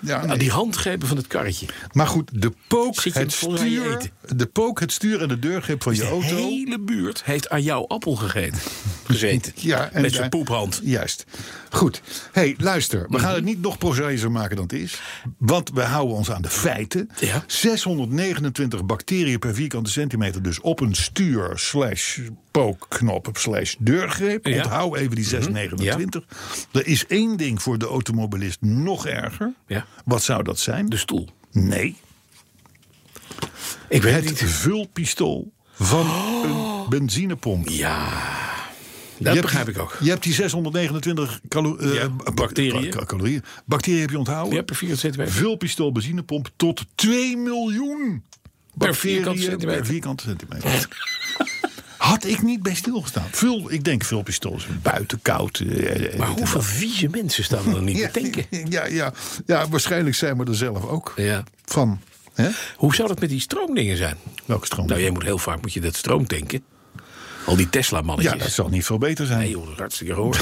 [SPEAKER 2] Ja, nee.
[SPEAKER 3] die handgrepen van het karretje.
[SPEAKER 2] Maar goed, de pook,
[SPEAKER 3] Zit je
[SPEAKER 2] het
[SPEAKER 3] volgens mij aan je
[SPEAKER 2] stuur, de pook, het stuur en de deurgrip van je
[SPEAKER 3] De
[SPEAKER 2] auto.
[SPEAKER 3] hele buurt heeft aan jouw appel gegeten. [LAUGHS] Gezeten. Met zijn
[SPEAKER 2] daar-
[SPEAKER 3] poephand. Mhm.
[SPEAKER 2] Juist. Goed. hey, luister. We gaan het niet nog prozaïser maken dan het is. Want we houden ons aan de feiten.
[SPEAKER 3] Ja.
[SPEAKER 2] 629 bacteriën per vierkante centimeter. Dus op een stuur slash pookknop slash deurgreep.
[SPEAKER 3] Ja. Mhm.
[SPEAKER 2] Onthoud even die 629. Er is één ding voor de automobilist nog erger.
[SPEAKER 3] Ja.
[SPEAKER 2] Wat zou dat zijn?
[SPEAKER 3] De stoel.
[SPEAKER 2] nee.
[SPEAKER 3] Ik weet het
[SPEAKER 2] Het
[SPEAKER 3] niet. Oh.
[SPEAKER 2] vulpistool van een benzinepomp.
[SPEAKER 3] Ja, dat
[SPEAKER 2] Je hebt
[SPEAKER 3] begrijp
[SPEAKER 2] die-
[SPEAKER 3] ik ook.
[SPEAKER 2] Je hebt die 629 kalo- eh,
[SPEAKER 3] Ja,
[SPEAKER 2] ba-
[SPEAKER 3] bacteriën.
[SPEAKER 2] ba- calorieën. Bacteriën heb je onthouden.
[SPEAKER 3] Je hebt per vierkante centimeter.
[SPEAKER 2] Vulpistool benzinepomp tot 2 miljoen bacteriën
[SPEAKER 3] vierkante centimeter.
[SPEAKER 2] Per vierkante centimeter. Had ik niet bij stilgestaan. Vul, ik denk vulpistool is buiten koud. eh, eh,
[SPEAKER 3] Maar hoeveel vieze mensen staan er dan [LAUGHS] niet
[SPEAKER 2] ja,
[SPEAKER 3] te denken?
[SPEAKER 2] [LAUGHS] Ja, ja, ja, waarschijnlijk zijn we er zelf ook
[SPEAKER 3] Ja.
[SPEAKER 2] van. Hè?
[SPEAKER 3] Hoe zou dat met die stroomdingen zijn?
[SPEAKER 2] Welke stroom?
[SPEAKER 3] Nou, jij moet heel vaak moet je dat stroom tanken. Al die Tesla-mannetjes.
[SPEAKER 2] ja, dat zal niet veel beter zijn.
[SPEAKER 3] Nee joh, dat is hartstikke [LAUGHS] hoor.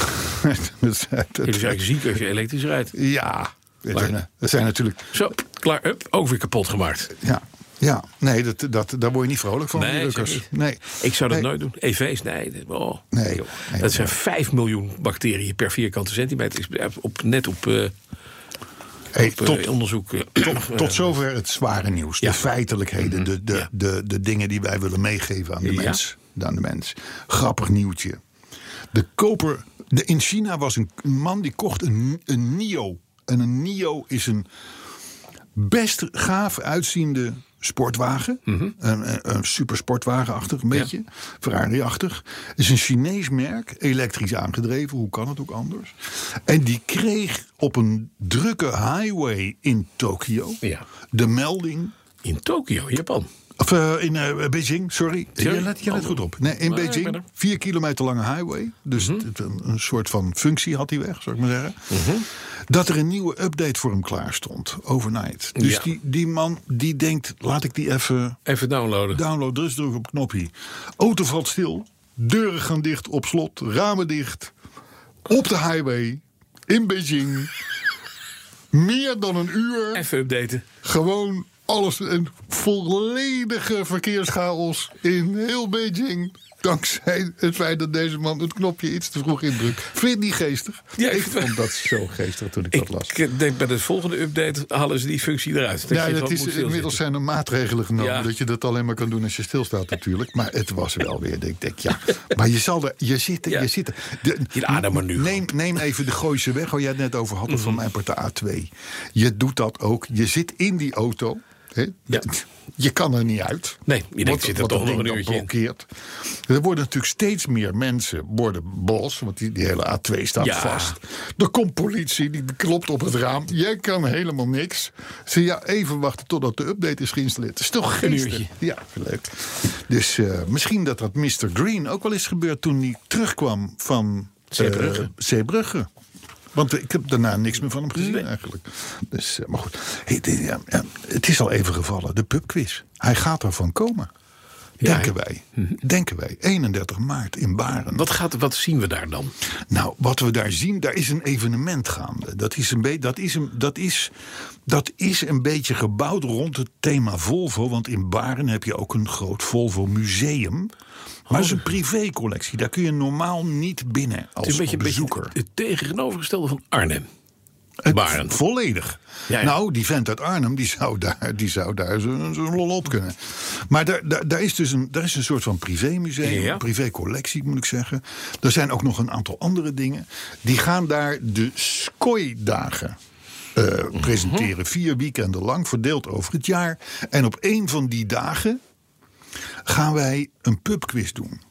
[SPEAKER 2] [LAUGHS]
[SPEAKER 3] Het
[SPEAKER 2] Dat- dat-
[SPEAKER 3] is eigenlijk ziek als je elektrisch rijdt.
[SPEAKER 2] ja, het
[SPEAKER 3] Maar-
[SPEAKER 2] zijn, het zijn natuurlijk
[SPEAKER 3] Zo, klaar, up, ook weer kapot gemaakt.
[SPEAKER 2] Ja, ja. nee, dat, dat, daar word je niet vrolijk van. die
[SPEAKER 3] Nee,
[SPEAKER 2] rukkers.
[SPEAKER 3] zeker niet.
[SPEAKER 2] nee.
[SPEAKER 3] Ik zou dat
[SPEAKER 2] Nee.
[SPEAKER 3] nooit doen. EV's, nee. dat- Oh.
[SPEAKER 2] Nee,
[SPEAKER 3] joh.
[SPEAKER 2] nee,
[SPEAKER 3] dat zijn 5 miljoen bacteriën per vierkante centimeter. Is op, net op, eh,
[SPEAKER 2] Hey,
[SPEAKER 3] op, eh,
[SPEAKER 2] tot,
[SPEAKER 3] onderzoek. eh,
[SPEAKER 2] [CLEARS THROAT]
[SPEAKER 3] eh,
[SPEAKER 2] tot zover het zware nieuws. De feitelijkheden, de, de,
[SPEAKER 3] Mhm. Ja.
[SPEAKER 2] de, de dingen die wij willen meegeven aan de,
[SPEAKER 3] Ja.
[SPEAKER 2] mens, aan de mens. Grappig nieuwtje. De koper, de, in China was een man die kocht een, een NIO. En een NIO is een best gaaf uitziende sportwagen. Een, een, een supersportwagenachtig, een beetje. Ferrari-achtig. Het is een Chinees merk, elektrisch aangedreven. Hoe kan het ook anders? En die kreeg op een drukke highway in Tokio
[SPEAKER 3] Ja.
[SPEAKER 2] de melding...
[SPEAKER 3] In Tokio, Japan.
[SPEAKER 2] Of eh, in eh, Beijing, sorry.
[SPEAKER 3] Sorry. Oh. eh,
[SPEAKER 2] Je let, je let goed op. Nee, in
[SPEAKER 3] Nee, ik ben
[SPEAKER 2] Beijing,
[SPEAKER 3] er. Mhm.
[SPEAKER 2] vier kilometer lange highway. Dus het- een, een soort van functie had hij weg, zou ik maar zeggen. Dat er een nieuwe update voor hem klaar stond, overnight. Dus
[SPEAKER 3] Ja.
[SPEAKER 2] die, die man die denkt, laat ik die even
[SPEAKER 3] Even downloaden.
[SPEAKER 2] download, dus druk op knopje. Auto valt stil, deuren gaan dicht op slot, ramen dicht. Op de highway, in Beijing.
[SPEAKER 3] [LAUGHS]
[SPEAKER 2] Meer dan een uur.
[SPEAKER 3] Even updaten.
[SPEAKER 2] Gewoon alles en volledige verkeerschaos in heel Beijing. Dankzij het feit dat deze man het knopje iets te vroeg indrukt. Vind je het niet geestig?
[SPEAKER 3] Ja, ik
[SPEAKER 2] ik
[SPEAKER 3] vind-
[SPEAKER 2] vond dat zo geestig toen ik, dat las.
[SPEAKER 3] Ik denk bij de volgende update halen ze die functie eruit.
[SPEAKER 2] Ja,
[SPEAKER 3] je
[SPEAKER 2] dat
[SPEAKER 3] gewoon
[SPEAKER 2] is,
[SPEAKER 3] moet stilzitten.
[SPEAKER 2] inmiddels zijn er maatregelen genomen.
[SPEAKER 3] Ja.
[SPEAKER 2] Dat je dat alleen maar kan doen als je stilstaat natuurlijk. Maar het was wel weer, ik denk, ja. Maar je zal er, je zit er,
[SPEAKER 3] Ja.
[SPEAKER 2] je zit er. De-
[SPEAKER 3] Je ademt maar nu Mhm.
[SPEAKER 2] Neem, neem even de Gooise weg, waar jij het net over had. Of van mijn partij A2. Je doet dat ook. Je zit in die auto. Hè?
[SPEAKER 3] Ja.
[SPEAKER 2] Je kan er niet uit.
[SPEAKER 3] Nee, je denkt,
[SPEAKER 2] Want-
[SPEAKER 3] zit er
[SPEAKER 2] want
[SPEAKER 3] toch
[SPEAKER 2] dat
[SPEAKER 3] nog
[SPEAKER 2] ding
[SPEAKER 3] een
[SPEAKER 2] dat
[SPEAKER 3] uurtje in.
[SPEAKER 2] blokkeert. Er worden natuurlijk steeds meer mensen worden bos. Want die, die hele A2 staat
[SPEAKER 3] Ja.
[SPEAKER 2] vast. Er komt politie, die klopt op het raam. Jij kan helemaal niks. Ze ja, even wachten totdat de update is geïnstalleerd. Het is toch geestig.
[SPEAKER 3] uurtje.
[SPEAKER 2] Ja, leuk. Dus eh, misschien dat dat Mr. Green ook wel is gebeurd toen hij terugkwam van eh,
[SPEAKER 3] Zeebrugge.
[SPEAKER 2] Zeebrugge. Want ik heb daarna niks meer van hem gezien eigenlijk. Dus, eh, maar goed, Hey, dit- ja, ja, het is al even gevallen. De pubquiz. Hij gaat ervan komen. Denken wij. Denken wij. 31 maart in Baren.
[SPEAKER 3] Wat, gaat, wat zien we daar dan?
[SPEAKER 2] Nou, wat we daar zien, daar is een evenement gaande. Dat is een, be- dat is een, dat is, dat is een beetje gebouwd rond het thema Volvo. Want in Baren heb je ook een groot Volvo-museum. Maar het is een privécollectie. Daar kun je normaal niet binnen als
[SPEAKER 3] Oh. Het is een beetje, een
[SPEAKER 2] bezoeker.
[SPEAKER 3] beetje het tegenovergestelde van Arnhem.
[SPEAKER 2] Het-
[SPEAKER 3] Baren.
[SPEAKER 2] Volledig.
[SPEAKER 3] Ja, ja.
[SPEAKER 2] Nou, die vent uit Arnhem, die zou daar, die zou daar zijn zijn lol op kunnen. Maar daar, daar, daar is dus een, daar is een soort van privémuseum,
[SPEAKER 3] Ja.
[SPEAKER 2] een privécollectie moet ik zeggen. Er zijn ook nog een aantal andere dingen. Die gaan daar de Skooi-dagen eh,
[SPEAKER 3] Mhm.
[SPEAKER 2] presenteren. Vier weekenden lang, verdeeld over het jaar. En op een van die dagen gaan wij een pubquiz doen.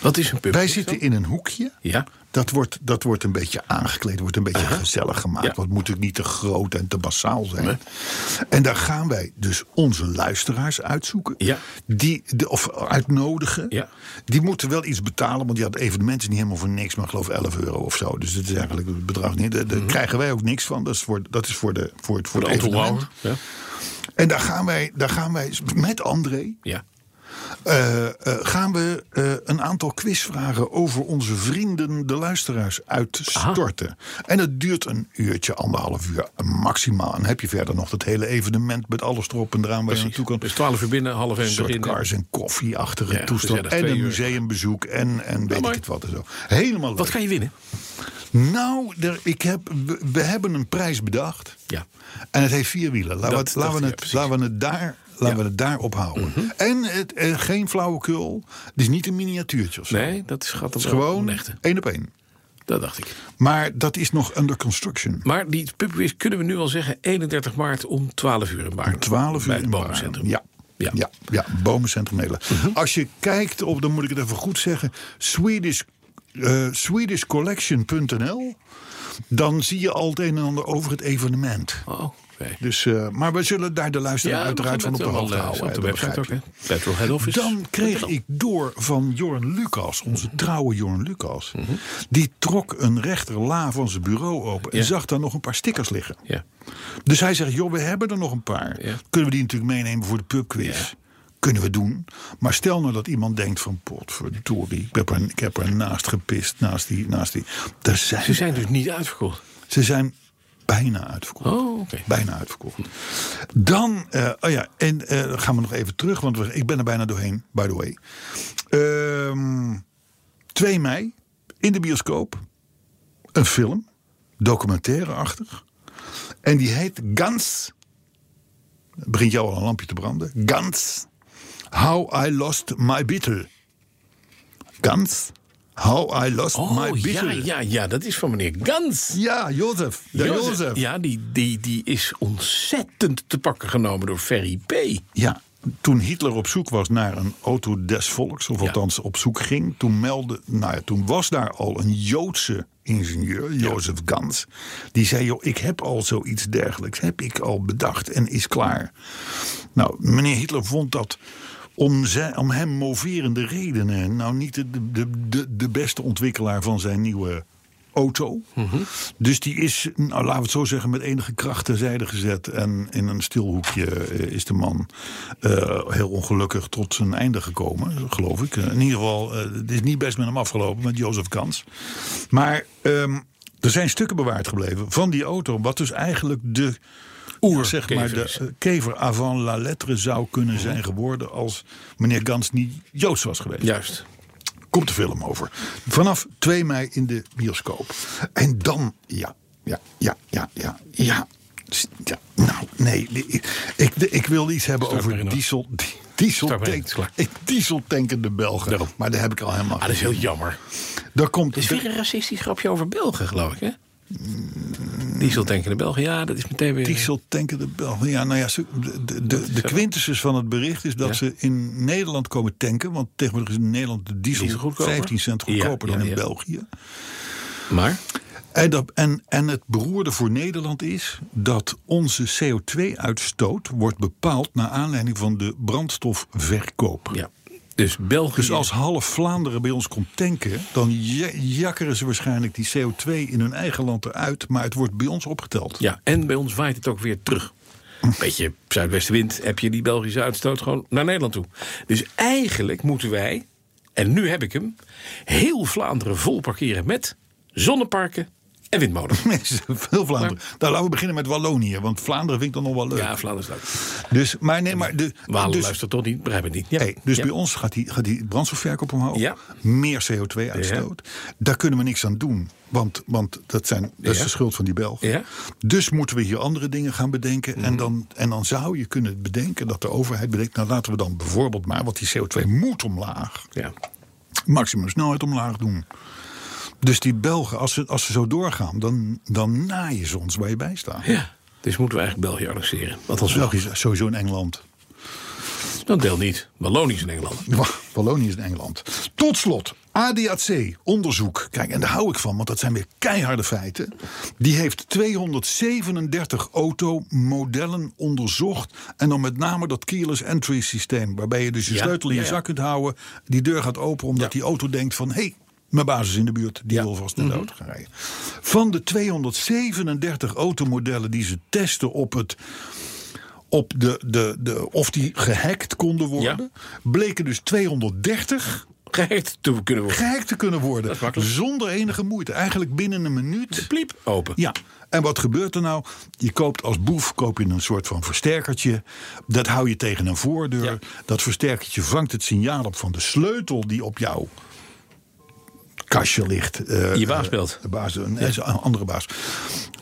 [SPEAKER 3] Wat is een pub?
[SPEAKER 2] Wij zitten in een hoekje.
[SPEAKER 3] Ja.
[SPEAKER 2] Dat wordt, dat wordt een beetje aangekleed, wordt een beetje gezellig gemaakt.
[SPEAKER 3] Ja.
[SPEAKER 2] Want het moet ook niet te groot en te massaal zijn. En daar gaan wij dus onze luisteraars uitzoeken.
[SPEAKER 3] Ja.
[SPEAKER 2] Die, de, of uitnodigen.
[SPEAKER 3] Ja.
[SPEAKER 2] Die moeten wel iets betalen, want ja, het evenement is niet helemaal voor niks, maar geloof ik 11 euro of zo. Dus dat is eigenlijk het bedrag niet. Daar, daar
[SPEAKER 3] Mhm.
[SPEAKER 2] krijgen wij ook niks van. Dat is voor, dat is voor, de, voor het, voor het
[SPEAKER 3] Anton
[SPEAKER 2] evenement.
[SPEAKER 3] Lauer. Ja.
[SPEAKER 2] En daar gaan, wij, daar gaan wij met André,
[SPEAKER 3] ja.
[SPEAKER 2] eh, eh, gaan we eh, een aantal quizvragen over onze vrienden, de luisteraars, uitstorten. En het duurt een uurtje, anderhalf uur maximaal. En heb je verder nog dat hele evenement met alles erop en eraan waar je naartoe kan.
[SPEAKER 3] Dus 12 uur binnen, half
[SPEAKER 2] Een
[SPEAKER 3] 1
[SPEAKER 2] soort
[SPEAKER 3] beginnen.
[SPEAKER 2] cars en koffieachtige
[SPEAKER 3] Ja,
[SPEAKER 2] toestand.
[SPEAKER 3] gezellig,
[SPEAKER 2] En
[SPEAKER 3] twee
[SPEAKER 2] een
[SPEAKER 3] uur.
[SPEAKER 2] museumbezoek en, en weet
[SPEAKER 3] mooi.
[SPEAKER 2] ik het wat en zo. Helemaal leuk.
[SPEAKER 3] Wat kan je winnen?
[SPEAKER 2] Nou, er- ik heb, we, we hebben een prijs bedacht.
[SPEAKER 3] Ja.
[SPEAKER 2] En het heeft vier wielen. Laten we
[SPEAKER 3] Dat
[SPEAKER 2] het- laten
[SPEAKER 3] dacht
[SPEAKER 2] we
[SPEAKER 3] ik,
[SPEAKER 2] het-
[SPEAKER 3] ja, Mhm.
[SPEAKER 2] laten we het daar. Laten we het daar ophouden. En het, eh, geen flauwekul. Het is niet een miniatuurtje of zo.
[SPEAKER 3] Nee, dat is, gaat
[SPEAKER 2] Het
[SPEAKER 3] dan
[SPEAKER 2] is
[SPEAKER 3] wel
[SPEAKER 2] gewoon
[SPEAKER 3] een echte.
[SPEAKER 2] één op één.
[SPEAKER 3] Dat dacht ik.
[SPEAKER 2] Maar dat is nog under construction.
[SPEAKER 3] Maar die pubquiz kunnen we nu al zeggen 31 maart om 12 uur in Baarn.
[SPEAKER 2] 12 uur
[SPEAKER 3] Bij het
[SPEAKER 2] in Baarn.
[SPEAKER 3] Bomencentrum.
[SPEAKER 2] Ja. Ja.
[SPEAKER 3] Ja. Mhm.
[SPEAKER 2] Ja, Bomencentrum Nederland. Als je kijkt op, dan moet ik het even goed zeggen, Swedish, eh, swedishcollection.nl, dan zie je al het een en ander over het evenement.
[SPEAKER 3] Oh, nee.
[SPEAKER 2] Dus, eh, maar we zullen daar de luisteraar uiteraard van op de hoogte houden.
[SPEAKER 3] eh, Op de
[SPEAKER 2] hè, dat
[SPEAKER 3] website ook,
[SPEAKER 2] begrijp
[SPEAKER 3] hè?
[SPEAKER 2] je.
[SPEAKER 3] Petrol Head Office. Mhm.
[SPEAKER 2] Dan kreeg ik door van Jorn Lucas, onze trouwe Jorn Lucas. Die trok een rechter la van zijn bureau open en
[SPEAKER 3] Ja.
[SPEAKER 2] zag daar nog een paar stickers liggen.
[SPEAKER 3] Ja.
[SPEAKER 2] Dus hij zegt, joh, we hebben er nog een paar.
[SPEAKER 3] Ja.
[SPEAKER 2] Kunnen we die natuurlijk meenemen voor de pubquiz? Kunnen we doen. Maar stel nou dat iemand denkt van, potverdorie, ik heb er, ik heb er naast gepist, naast die, naast die. Er zijn,
[SPEAKER 3] Ze zijn dus niet uitverkocht.
[SPEAKER 2] ze zijn bijna uitverkocht.
[SPEAKER 3] Oh, oké.
[SPEAKER 2] Bijna uitverkocht. Dan, eh, oh ja, en eh, dan gaan we nog even terug, want we- ik ben er bijna doorheen, by the way. Ehm, 2 mei, in de bioscoop, een film, documentaireachtig. En die heet Gans. Begint jou al een lampje te branden. Gans. How I Lost My Beetle. Gans. How I Lost My
[SPEAKER 3] Oh, ja,
[SPEAKER 2] Beetle.
[SPEAKER 3] ja, ja, dat is van meneer Gans.
[SPEAKER 2] Ja, Jozef. Ja,
[SPEAKER 3] Jozef.
[SPEAKER 2] Jozef.
[SPEAKER 3] Ja, die, die, die is ontzettend te pakken genomen door Ferry P.
[SPEAKER 2] Ja, toen Hitler op zoek was naar een auto des volks, of
[SPEAKER 3] Ja.
[SPEAKER 2] althans op zoek ging, toen meldde, nou ja, toen was daar al een Joodse ingenieur, Jozef Gans, die zei: joh, ik heb al zoiets dergelijks, heb ik al bedacht en is klaar. Nou, meneer Hitler vond dat. Om, zijn, om hem moverende redenen. Nou, niet de, de, de, de beste ontwikkelaar van zijn nieuwe auto. Dus die is, nou, laten we het zo zeggen, met enige kracht terzijde gezet. En in een stilhoekje eh, is de man eh, heel ongelukkig tot zijn einde gekomen, geloof ik. Eh, In ieder geval, eh, het is niet best met hem afgelopen, met Jozef Kans. Maar ehm, er zijn stukken bewaard gebleven van die auto. Wat dus eigenlijk de ja, zeg maar de eh, kever avant la lettre zou kunnen zijn geworden als meneer Gans niet Joods was geweest.
[SPEAKER 3] Juist.
[SPEAKER 2] Komt de film over. Vanaf 2 mei in de bioscoop. En dan, ja, ja, ja, ja, ja, ja. S- ja, nou, nee. Ik, ik, ik wil iets hebben
[SPEAKER 3] Start maar
[SPEAKER 2] over
[SPEAKER 3] in, hoor.
[SPEAKER 2] diesel, di-
[SPEAKER 3] Start maar in,
[SPEAKER 2] dieseltank,
[SPEAKER 3] is klaar.
[SPEAKER 2] dieseltankende Belgen.
[SPEAKER 3] Daarom.
[SPEAKER 2] Maar daar heb ik al helemaal
[SPEAKER 3] Ah, dat is heel jammer.
[SPEAKER 2] Daar komt
[SPEAKER 3] Er is weer een racistisch grapje over Belgen, geloof ik, hè? Dieseltankende Belgen, ja, dat is meteen weer...
[SPEAKER 2] Diesel tanken de Belgen. Ja, nou ja, ze- de, de, de, de quintessus van het bericht is dat
[SPEAKER 3] Ja.
[SPEAKER 2] ze in Nederland komen tanken. Want tegenwoordig is in Nederland de diesel,
[SPEAKER 3] Diesel goedkoper.
[SPEAKER 2] 15 cent
[SPEAKER 3] Ja,
[SPEAKER 2] goedkoper
[SPEAKER 3] ja,
[SPEAKER 2] dan in
[SPEAKER 3] ja.
[SPEAKER 2] België.
[SPEAKER 3] Maar?
[SPEAKER 2] En, Eh, dat, en, en het beroerde voor Nederland is dat onze CO2-uitstoot wordt bepaald naar aanleiding van de brandstofverkoop.
[SPEAKER 3] Ja. Dus België...
[SPEAKER 2] Dus als half Vlaanderen bij ons komt tanken, dan ja- jakkeren ze waarschijnlijk die CO2 in hun eigen land eruit, maar het wordt bij ons [LAUGHS] opgeteld.
[SPEAKER 3] Ja, en bij ons waait het ook weer terug. Beetje zuidwestenwind heb je die Belgische uitstoot gewoon naar Nederland toe. Dus eigenlijk moeten wij, en nu heb ik hem, heel Vlaanderen vol parkeren met zonneparken en
[SPEAKER 2] [LAUGHS]
[SPEAKER 3] windmolens.
[SPEAKER 2] Mensen, veel Vlaanderen. Nou, laten we beginnen met Wallonië, want Vlaanderen vind ik dan nog wel leuk.
[SPEAKER 3] Ja, Vlaanderen is leuk.
[SPEAKER 2] Dus, maar nee, maar de,
[SPEAKER 3] Walen
[SPEAKER 2] dus,
[SPEAKER 3] luistert toch niet, begrijp het niet. Ja.
[SPEAKER 2] hey, dus
[SPEAKER 3] Ja.
[SPEAKER 2] bij ons gaat die, gaat die brandstofverkoop omhoog.
[SPEAKER 3] Ja.
[SPEAKER 2] Meer CO2-uitstoot. Daar kunnen we niks aan doen. Want, want dat, zijn, dat is
[SPEAKER 3] Ja.
[SPEAKER 2] de schuld van die Belgen.
[SPEAKER 3] Ja. Mhm.
[SPEAKER 2] Dus moeten we hier andere dingen gaan bedenken. En, dan, en dan zou je kunnen bedenken dat de overheid bedenkt... nou laten we dan bijvoorbeeld maar, want die CO2 moet omlaag...
[SPEAKER 3] Ja.
[SPEAKER 2] maximum snelheid omlaag doen. Dus die Belgen, als ze, als ze zo doorgaan... dan, dan naaien ze ons waar je bij staat.
[SPEAKER 3] ja, dus moeten we eigenlijk België annexeren. Althans, wel.
[SPEAKER 2] België is sowieso in Engeland...
[SPEAKER 3] dat deel niet. Wallonië is in Engeland.
[SPEAKER 2] Wacht, [LAUGHS] Wallonië is in Engeland. Tot slot, ADAC, onderzoek. Kijk, en daar hou ik van, want dat zijn weer keiharde feiten. Die heeft 237 automodellen onderzocht. En dan met name dat keyless entry systeem. Waarbij je dus je
[SPEAKER 3] Ja,
[SPEAKER 2] sleutel in je
[SPEAKER 3] ja, ja.
[SPEAKER 2] zak kunt houden. Die deur gaat open omdat die auto denkt van... Hey, mijn basis in de buurt, die
[SPEAKER 3] Ja. Mhm.
[SPEAKER 2] wil vast naar de auto gaan rijden. Van de 237 automodellen die ze testen op het op de, de, de, of die gehackt konden worden. Bleken dus 230
[SPEAKER 3] Gehackt te kunnen worden.
[SPEAKER 2] gehackt te kunnen worden.
[SPEAKER 3] is makkelijk.
[SPEAKER 2] Zonder enige moeite. Eigenlijk binnen een minuut.
[SPEAKER 3] Pliep, open.
[SPEAKER 2] Ja. En wat gebeurt er nou? Je koopt als boef koop je een soort van versterkertje. Dat hou je tegen een voordeur.
[SPEAKER 3] Ja.
[SPEAKER 2] Dat versterkertje vangt het signaal op van de sleutel die op jouw kastje ligt. Eh,
[SPEAKER 3] Je baas
[SPEAKER 2] eh,
[SPEAKER 3] belt.
[SPEAKER 2] de baas, een, een andere baas.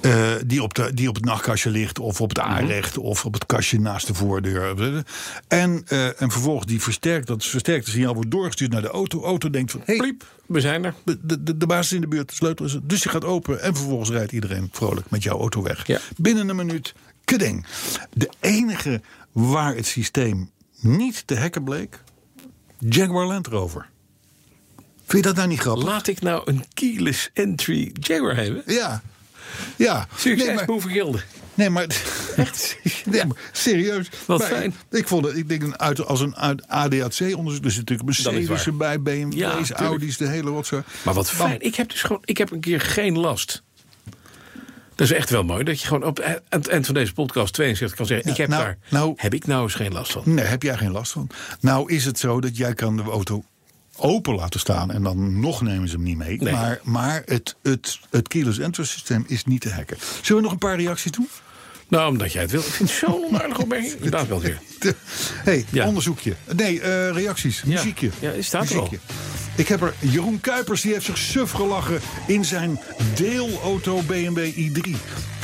[SPEAKER 2] Eh, die, op de, die op het nachtkastje ligt, of op het
[SPEAKER 3] Mhm.
[SPEAKER 2] aanrecht, of op het kastje naast de voordeur. En, eh, en vervolgens die versterkt, dat versterkte signaal wordt doorgestuurd naar de auto. auto denkt van, hey,
[SPEAKER 3] Pliep, we zijn er.
[SPEAKER 2] de, de, de- de baas is in de buurt, de sleutel is er. Dus je gaat open en vervolgens rijdt iedereen vrolijk met jouw auto weg.
[SPEAKER 3] Ja.
[SPEAKER 2] Binnen een minuut, kedeng. De enige waar het systeem niet te hacken bleek, Jaguar Land Rover. Vind je dat nou niet grappig?
[SPEAKER 3] Laat ik nou een keyless entry Jaguar hebben.
[SPEAKER 2] ja. Ja.
[SPEAKER 3] Succes,
[SPEAKER 2] Nee,
[SPEAKER 3] nee,
[SPEAKER 2] maar, nee, maar,
[SPEAKER 3] Echt?
[SPEAKER 2] [LAUGHS] nee, maar serieus.
[SPEAKER 3] Wat
[SPEAKER 2] Maar
[SPEAKER 3] fijn.
[SPEAKER 2] Ik, vond het, ik denk een uit, als een uit ADAC-onderzoek. Er zit natuurlijk
[SPEAKER 3] Dat is waar.
[SPEAKER 2] Mercedes bij, BMW's,
[SPEAKER 3] Ja, tuurlijk.
[SPEAKER 2] Audi's, de hele rotzooi.
[SPEAKER 3] Maar wat fijn. Ik heb dus gewoon, ik heb een keer geen last. Dat is echt wel mooi. Dat je gewoon op, aan het eind van deze podcast 62 kan zeggen.
[SPEAKER 2] Ja,
[SPEAKER 3] ik heb
[SPEAKER 2] nou,
[SPEAKER 3] daar,
[SPEAKER 2] nou-
[SPEAKER 3] heb ik nou eens geen last van.
[SPEAKER 2] Nee, heb jij geen last van. Nou is het zo dat jij kan de auto open laten staan en dan nog nemen ze hem niet mee.
[SPEAKER 3] Nee.
[SPEAKER 2] Maar, maar het, het, het keyless entry systeem is niet te hacken. Zullen we nog een paar reacties doen?
[SPEAKER 3] Nou, omdat jij het wil. Ik vind het zo'n onaardige
[SPEAKER 2] [LAUGHS]
[SPEAKER 3] opmerking. Inderdaad wel weer.
[SPEAKER 2] Hé, hey,
[SPEAKER 3] Ja.
[SPEAKER 2] onderzoekje. Nee, eh, reacties. Muziekje.
[SPEAKER 3] Ja, het staat er al.
[SPEAKER 2] Ik heb er Jeroen Kuipers, die heeft zich suf gelachen in zijn deelauto BMW i3.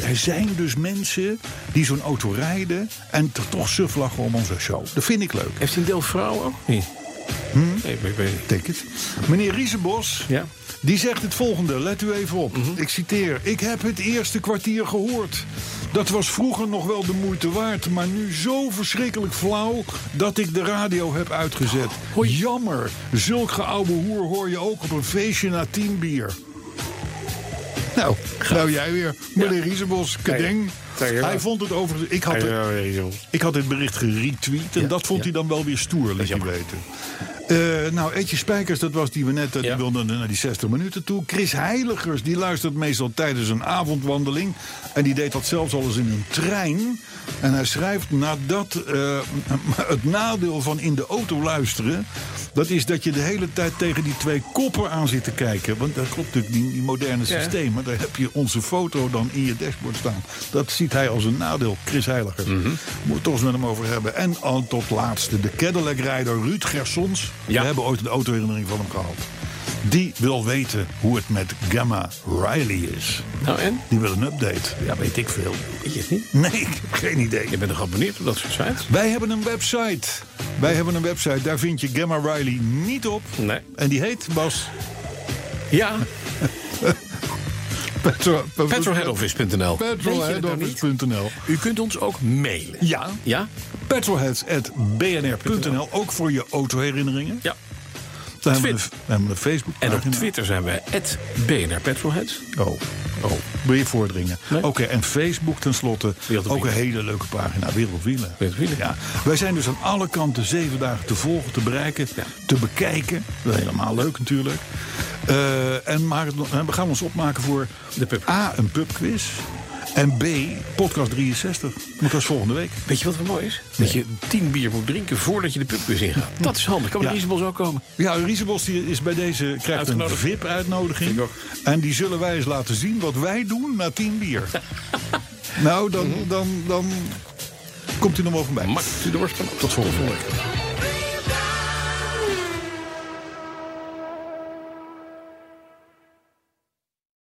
[SPEAKER 2] Er zijn dus mensen die zo'n auto rijden en er toch suf lachen om onze show. Dat vind ik leuk.
[SPEAKER 3] Heeft hij een deel vrouwen ook? Nee.
[SPEAKER 2] Hm?
[SPEAKER 3] Nee, maar ik weet het niet.
[SPEAKER 2] Take it. Meneer Riesenbos,
[SPEAKER 3] Ja. Mhm.
[SPEAKER 2] die zegt het volgende. Let u even op. Ik citeer. Ik heb het eerste kwartier gehoord. Dat was vroeger nog wel de moeite waard, maar nu zo verschrikkelijk flauw dat ik de radio heb uitgezet. Jammer, zulk geoude hoer hoor je ook op een feestje na tien bier. Nou, nou jij weer. Meneer Riesenbos, kedeng.
[SPEAKER 3] Kijk, ja.
[SPEAKER 2] Hij vond het overigens... Ik had, het- ik had dit bericht geretweet en dat vond hij dan wel weer stoer, liet je weten. Eh, nou, Eetje Spijkers, dat was die we net, eh, die
[SPEAKER 3] Ja.
[SPEAKER 2] wilde naar die 60 minuten toe. Chris Heiligers, die luistert meestal tijdens een avondwandeling. En die deed dat zelfs al eens in een trein. En hij schrijft, nadat eh, het nadeel van in de auto luisteren... dat is dat je de hele tijd tegen die twee koppen aan zit te kijken. Want dat klopt natuurlijk, die, die moderne systemen. Daar heb je onze foto dan in je dashboard staan. Dat ziet hij als een nadeel, Chris Heiligers.
[SPEAKER 3] Mhm.
[SPEAKER 2] Moet het toch eens met hem over hebben. En al tot laatste, de Cadillac-rijder Ruud Gersons...
[SPEAKER 3] Ja.
[SPEAKER 2] We hebben ooit een autoherinnering van hem gehad. Die wil weten hoe het met Gamma Riley is.
[SPEAKER 3] Nou en?
[SPEAKER 2] Die wil een update. Ja, weet ik veel.
[SPEAKER 3] Weet je het niet?
[SPEAKER 2] Nee, ik heb geen idee.
[SPEAKER 3] Je bent nog geabonneerd op dat soort sites?
[SPEAKER 2] Wij hebben een website. Wij hebben een website. Daar vind je Gamma Riley niet op.
[SPEAKER 3] Nee.
[SPEAKER 2] En die heet, Bas... [LAUGHS]
[SPEAKER 3] Ja,
[SPEAKER 2] Petro,
[SPEAKER 3] petrolheadoffice.nl.
[SPEAKER 2] Petrolheadoffice.nl
[SPEAKER 3] U kunt ons ook mailen.
[SPEAKER 2] Ja,
[SPEAKER 3] nou Ja?
[SPEAKER 2] petrolheads.bnr.nl. Ook voor je autoherinneringen.
[SPEAKER 3] Ja.
[SPEAKER 2] Dan hebben we
[SPEAKER 3] Twit.
[SPEAKER 2] een- we hebben een Facebook
[SPEAKER 3] En op Twitter zijn wij BNR Petrolheads.
[SPEAKER 2] Oh, oh. Wil je voordringen?
[SPEAKER 3] Nee.
[SPEAKER 2] Oké, en Facebook tenslotte.
[SPEAKER 3] Wereld op
[SPEAKER 2] Ook een
[SPEAKER 3] Wielen.
[SPEAKER 2] hele leuke pagina, Wereld op Wielen.
[SPEAKER 3] Wereld op Wielen.
[SPEAKER 2] Ja. Wij zijn dus aan alle kanten zeven dagen te volgen, te bereiken,
[SPEAKER 3] Ja.
[SPEAKER 2] te bekijken. Dat is helemaal leuk natuurlijk. Eh, en maar, en we gaan ons opmaken voor
[SPEAKER 3] De pub.
[SPEAKER 2] A, een pubquiz. En B, podcast 63. Want dat is volgende week.
[SPEAKER 3] Weet je wat wel mooi is? Dat je tien bier moet drinken voordat je de pubquiz ingaat. Dat is handig. Kan met
[SPEAKER 2] Ja.
[SPEAKER 3] Isabel zo komen.
[SPEAKER 2] Ja, Riesebos die is bij deze krijgt een
[SPEAKER 3] Uitgenodigd.
[SPEAKER 2] VIP-uitnodiging.
[SPEAKER 3] Ik ook.
[SPEAKER 2] En die zullen wij eens laten zien wat wij doen na tien
[SPEAKER 3] [LAUGHS]
[SPEAKER 2] bier. nou, dan, dan, dan komt u nog wel voorbij.
[SPEAKER 3] Max de Dorst. Tot volgende week.